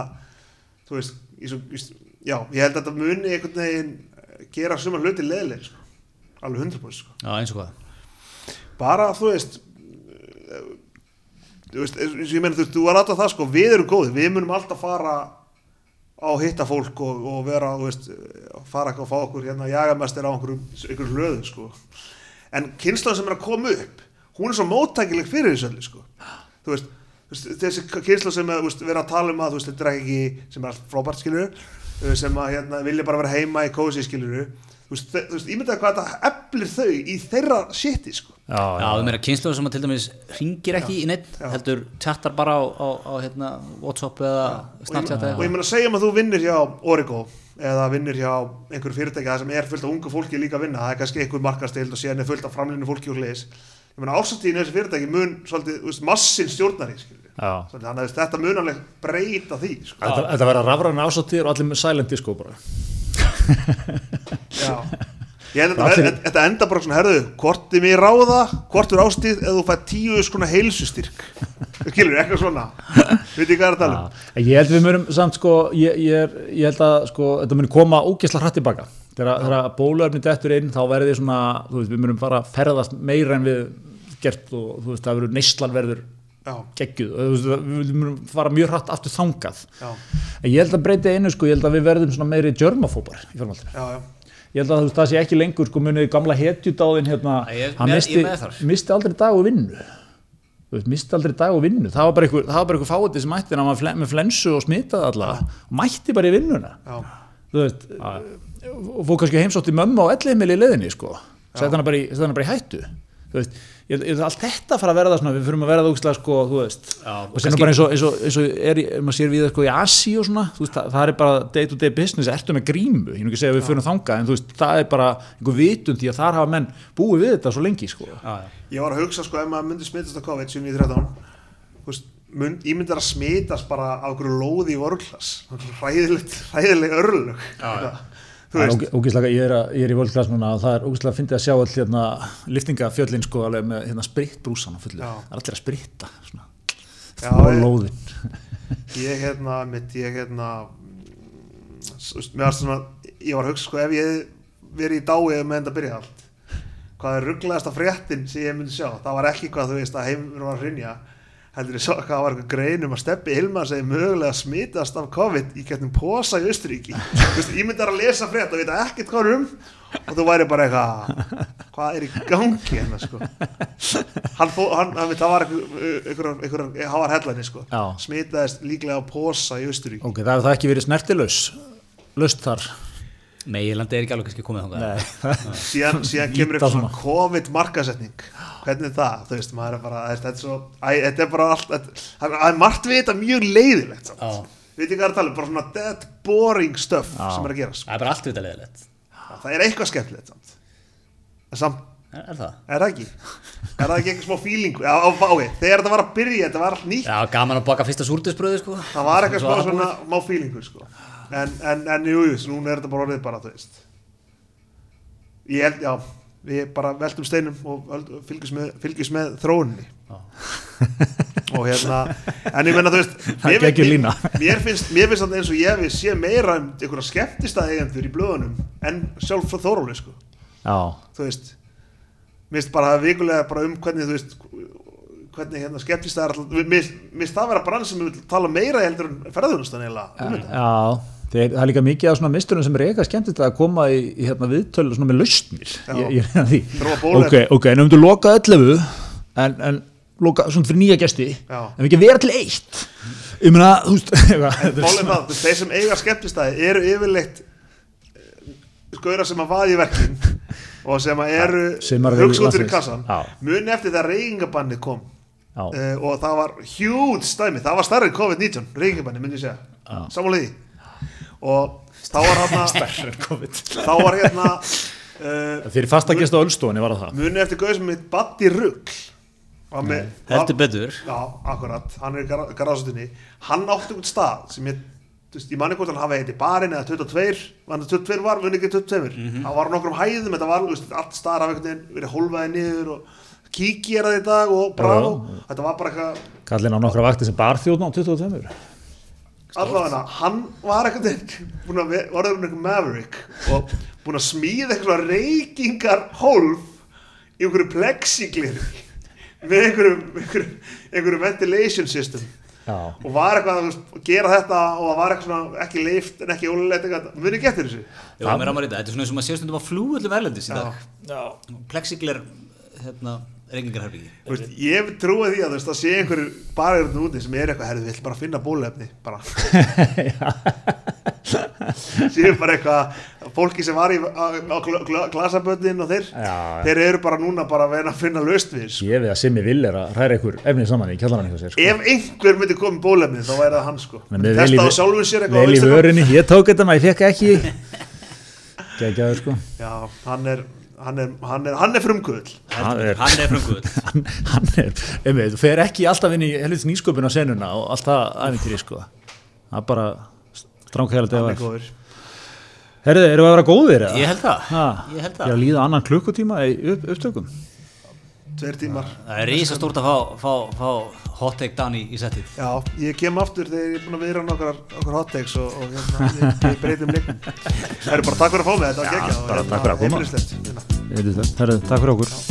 þú veist, í svo, í, svo- já, ég held að þetta muni einhvern veginn eh, gera suma hluti leðilegir, sko alveg 100% sko,
Já, eins og hvað.
bara þú veist eh, þú veist, eins og ég meina þú veist, þú var alltaf það sko, við erum góðið, við munum alltaf fara á að hitta fólk og, og vera, þú veist, eh, fara eitthvað að fá okkur hérna jagamestir á einhverjum, einhverjum löðum sko. en kynslan sem er að koma upp hún er svo móttækileg fyrir þessu öllu sko. þú veist, þú veist, þessi kynslan sem er, þú veist, vera að tala um að þú veist, þetta er ekki sem er allt frábært skilur sem að hérna, vilja bara vera heima í kósi skilur þú veist, þe- þú veist, ímyndaðu hvað þetta eflir þau í þeirra shiti sko.
Já,
Já,
já.
þú meira kynsluður sem að til dæmis ringir ekki í neitt,
Já.
heldur chattar bara á, á, á hérna, Whatsapp eða Snapchat eða
og ég, og ég
eitthvað.
meina að segja um að þú vinnir hjá Origo eða vinnir hjá einhverju fyrirtæki það sem er fullt af ungu fólki líka að vinna það er kannski einhver markastild og síðan er fullt af framlinu fólki og hliðis ég meina ársattíðin þessi fyrirtæki mun svolítið, þú veist, massin stjórnari skilur.
Já.
svolítið, þannig að þú veist, þetta mun alveg breyta því sko.
Þetta, þetta verða rafræna ásáttir og allir með silent disco bara.
Já. ég held að þetta,
Allir-
þetta- þetta enda bara svona herðu, hvort er mér ráða hvort er ástíð eða þú fætt tíu skona heilsustyrk skilur, eitthvað svona við þið hvað er að tala um
En Ég held við mjög samt sko, ég, ég, er, ég held að sko, þetta muni koma ógesla hratt tilbaka. Þegar, þegar bóluefni dettur inn þá verði svona, þú veist, við munum fara að ferðast meira en við gert og þú veist, það verður neyslan verður
já,
geggjuð og þú veist, það- við munum fara mjög hratt aftur þangað.
já,
En ég held að breyti einu sko, ég held að við verðum svona meiri germafóbar í framhaldinu.
já, já.
Ég held að þú veist, það sé ekki lengur sko munið gamla hetjudáðin hérna,
Nei, ég-
hann
með-
misti,
ég með þar.
misti aldrei dag og vinnu þú veist, misti aldrei dag og vinnu það var bara einhver, það var bara einhver fáiði sem mætti hann var fle- með flensu og smitaði allavega og mætti bara í vinnuna
já.
þú veist, og fór kannski heimsótti mömmu á ellihimili í leðinni sko sett hann bara í, sett hana bara í hættu þú veist, ég held- ég held að allt þetta fara að verða svona, við fyrir að verða úkslega sko, þú veist
Já,
og sem er bara eins og, eins og, eins og er, í- maður sér við það, sko í Asi og svona, þú veist, það, það er bara day to day business, ertu með grímu, ég nú ekki að segja að við fyrir þangað, en þú veist, það er bara einhver vitund því að þar hafa menn búið við þetta svo lengi sko.
Já, já.
Ég var að hugsa sko ef maður myndi smitast á COVID 713 veist, mynd, ég myndi að smitast bara á einhverju lóði í vorklas hræðilegt, hræðileg örlög já, þú
Það er
veist,
óge- ógeðslega, ég er, að, ég er í völdklass núna og það er ógeðslega að fyndi að sjá all hérna liftingafjöllin sko alveg með hérna spritbrúsan og fullu,
Já.
það er allir að spritta svona,
Já,
þvó
ég-
lóðin
ég hérna mitt, ég hérna mm, s- veist, mér var svona, ég var að hugsa sko ef ég verið í dái eða með þetta byrja allt hvað er rugglegasta fréttin sem ég myndi sjá, það var ekki hvað þú veist að heimur var að hrinja heldur ég sá hvað var eitthvað grein um að steppi Hilma segi mögulega smitast af COVID í getnum posa í Austuríki ég myndi að lesa frétt og vita ekkert hvað er um og þú væri bara eitthvað hvað er í gangi hérna sko hann, fó, hann, hann það var einhver, einhver, einhver, hann var hellani sko
Já.
smitaðist líklega á posa í Austuríki
ok, það hefur það ekki verið snertilaus laust þar
Meginlandi er ekki alveg kannski komið þangað.
síðan, síðan kemur
Líta
upp svona
svona.
COVID markasetning hvernig er það, þú veist, maður er bara þetta er svo, æ, þetta er bara allt þetta það er margt við þetta mjög leiðilegt samt.
Já.
veit ég hvað er að tala um, bara svona dead boring stuff sem er að gera sko.
Það er bara allt við þetta leðilegt.
það er eitthvað skemmtilegt samt en samt
Er, er það?
Er það ekki? Er það ekki eitthvað smá feeling? Já, á bái, þegar þetta var að byrja, þetta var allt nýtt
Já, gaman að baka fyrsta súrdisbröði, sko.
Það var eitthvað
Svo
smá
að
svona, má feelingur sko En, en, en jú, jú, núna er þetta bara orðið bara, þú veist Ég held, já, við bara veltum steinum og öld- fylgjumst með, fylgjumst með þróunni
Já.
Og hérna, en ég menna, þú veist
Það er
mér-
geggjuð lína.
Mér finnst, mér finnst þetta eins og ég við sé meira um einhverja skemmtistað eigendur í blöðunum En sjálf frá þórólu, sko
já,
þú veist mér finnst bara vikulega bara um hvernig þú veist hvernig hérna skeptist það er alltaf mér mér finnst það vera brann sem við vil tala meira heldur en ferðunustan eiginlega um þetta
já. Þeir, það er líka mikið af svona mistunum sem er eitthvað skemmtilegt að koma í, í hérna, viðtölu svona með lausnir
Já.
ég, ég reyna því
Þróa bóluefni.
ok, ok, en ef við loka 11 en, en loka svona fyrir nýja gesti
Já.
en ekki vera til eitt ég meina, þú veist þetta er
málum
svona-
það, þú veist, þeir sem eiga skeptist það eru yfirleitt skauðra sem að vaði í verkin og sem að eru
sem að eru
hugskóttur í
landsins.
kassan
Já.
muni eftir það reyngabannið kom
Já.
uh, og það var huge stæmi það var starri en COVID-19, reyningabanni myndi ég segja, samanlega því og þá var hérna þá var hérna uh,
fyrir fasta gesta á Ölstofunni var það
muni eftir gauð sem heit Batti Rugg var með,
Mm, Heldur betur.
já, akkurat, hann er í gar garðasutinni hann átti einhvern stað sem ég þú veist, ég manni hvort hann hafi heiti barinn eða 22 hann 22 var, muni ekki 22
Mhm.
það var á nokkrum hæðum, þetta var þú veist, allt staðar af einhvern veginn, verið hólfaði niður og kíki er það í dag og bravo þetta var bara eitthvað,
kallin á nokkra vakti sem barþjóðn á 22
allavega hann var einhvern veginn búin að ve- var einhvern veginn maverick og búin að smíða eitthvað reykingar hólf í einhverju plexiglir með einhverju, einhverju, einhverju ventilation system
já,
og var eitthvað þú veist, að gera þetta og það var eitthvað svona ekki leift en ekki ólulegt eitthvað, muni ekki eftir þessu
Já, mér rámar í þetta. Þetta er svona eins og maður séu stundum á flúullum erlendis í dag.
já.
Plexigler, hérna, reykingarherbyggi.
Þú veist, ég trúi því að þú veist, það sé einhverju bara hérna úti sem er eitthvað herðu, við ætlum bara að finna bólefni bara séu bara eitthvað fólki sem var í, á, á gl- gl- glasaböndin og þeir
Já.
þeir eru bara núna bara að reyna að finna löst við sko.
ég við að Simmi Vill er að hræra ykkur efnið saman í kjallarann hjá sér sko.
ef einhver myndi koma með bólefni þá væri það hann sko
Menn með
testa á
í-
sjálfum sér eitthvað á
vel í
Instagram.
vörunni, ég tók þetta maður, ég fekk ekki geggjaður sko
Já, hann er, hann er, hann er, hann er frumkvöld
Hann er-
Hann er frumkvöld.
hann, hann er, einmitt, fer ekki alltaf inn í helvits nýsköpun á senuna og allt það æfintýri sko það er bara stránkæðaldi að
hann
vera herðu,
er góður
eru að vera góðir eða?
Ég held það.
Ha,
Ég held
ég er
það.
að líða annan klukkutíma í upp, upptökum
tveir tímar
Það er risastórt að fá, fá, fá hot take down í, í settið.
Já, ég kem aftur þegar ég er búin að viðra nokkar, nokkar hot takes og, og hérna, ég, ég breytum leiknum. Það eru bara takk fyrir að fá mig, þetta var
Já,
geggjað og
bara takk fyrir að koma.
heimilislegt. Hérna.
Heyrðu, herðu, takk fyrir okkur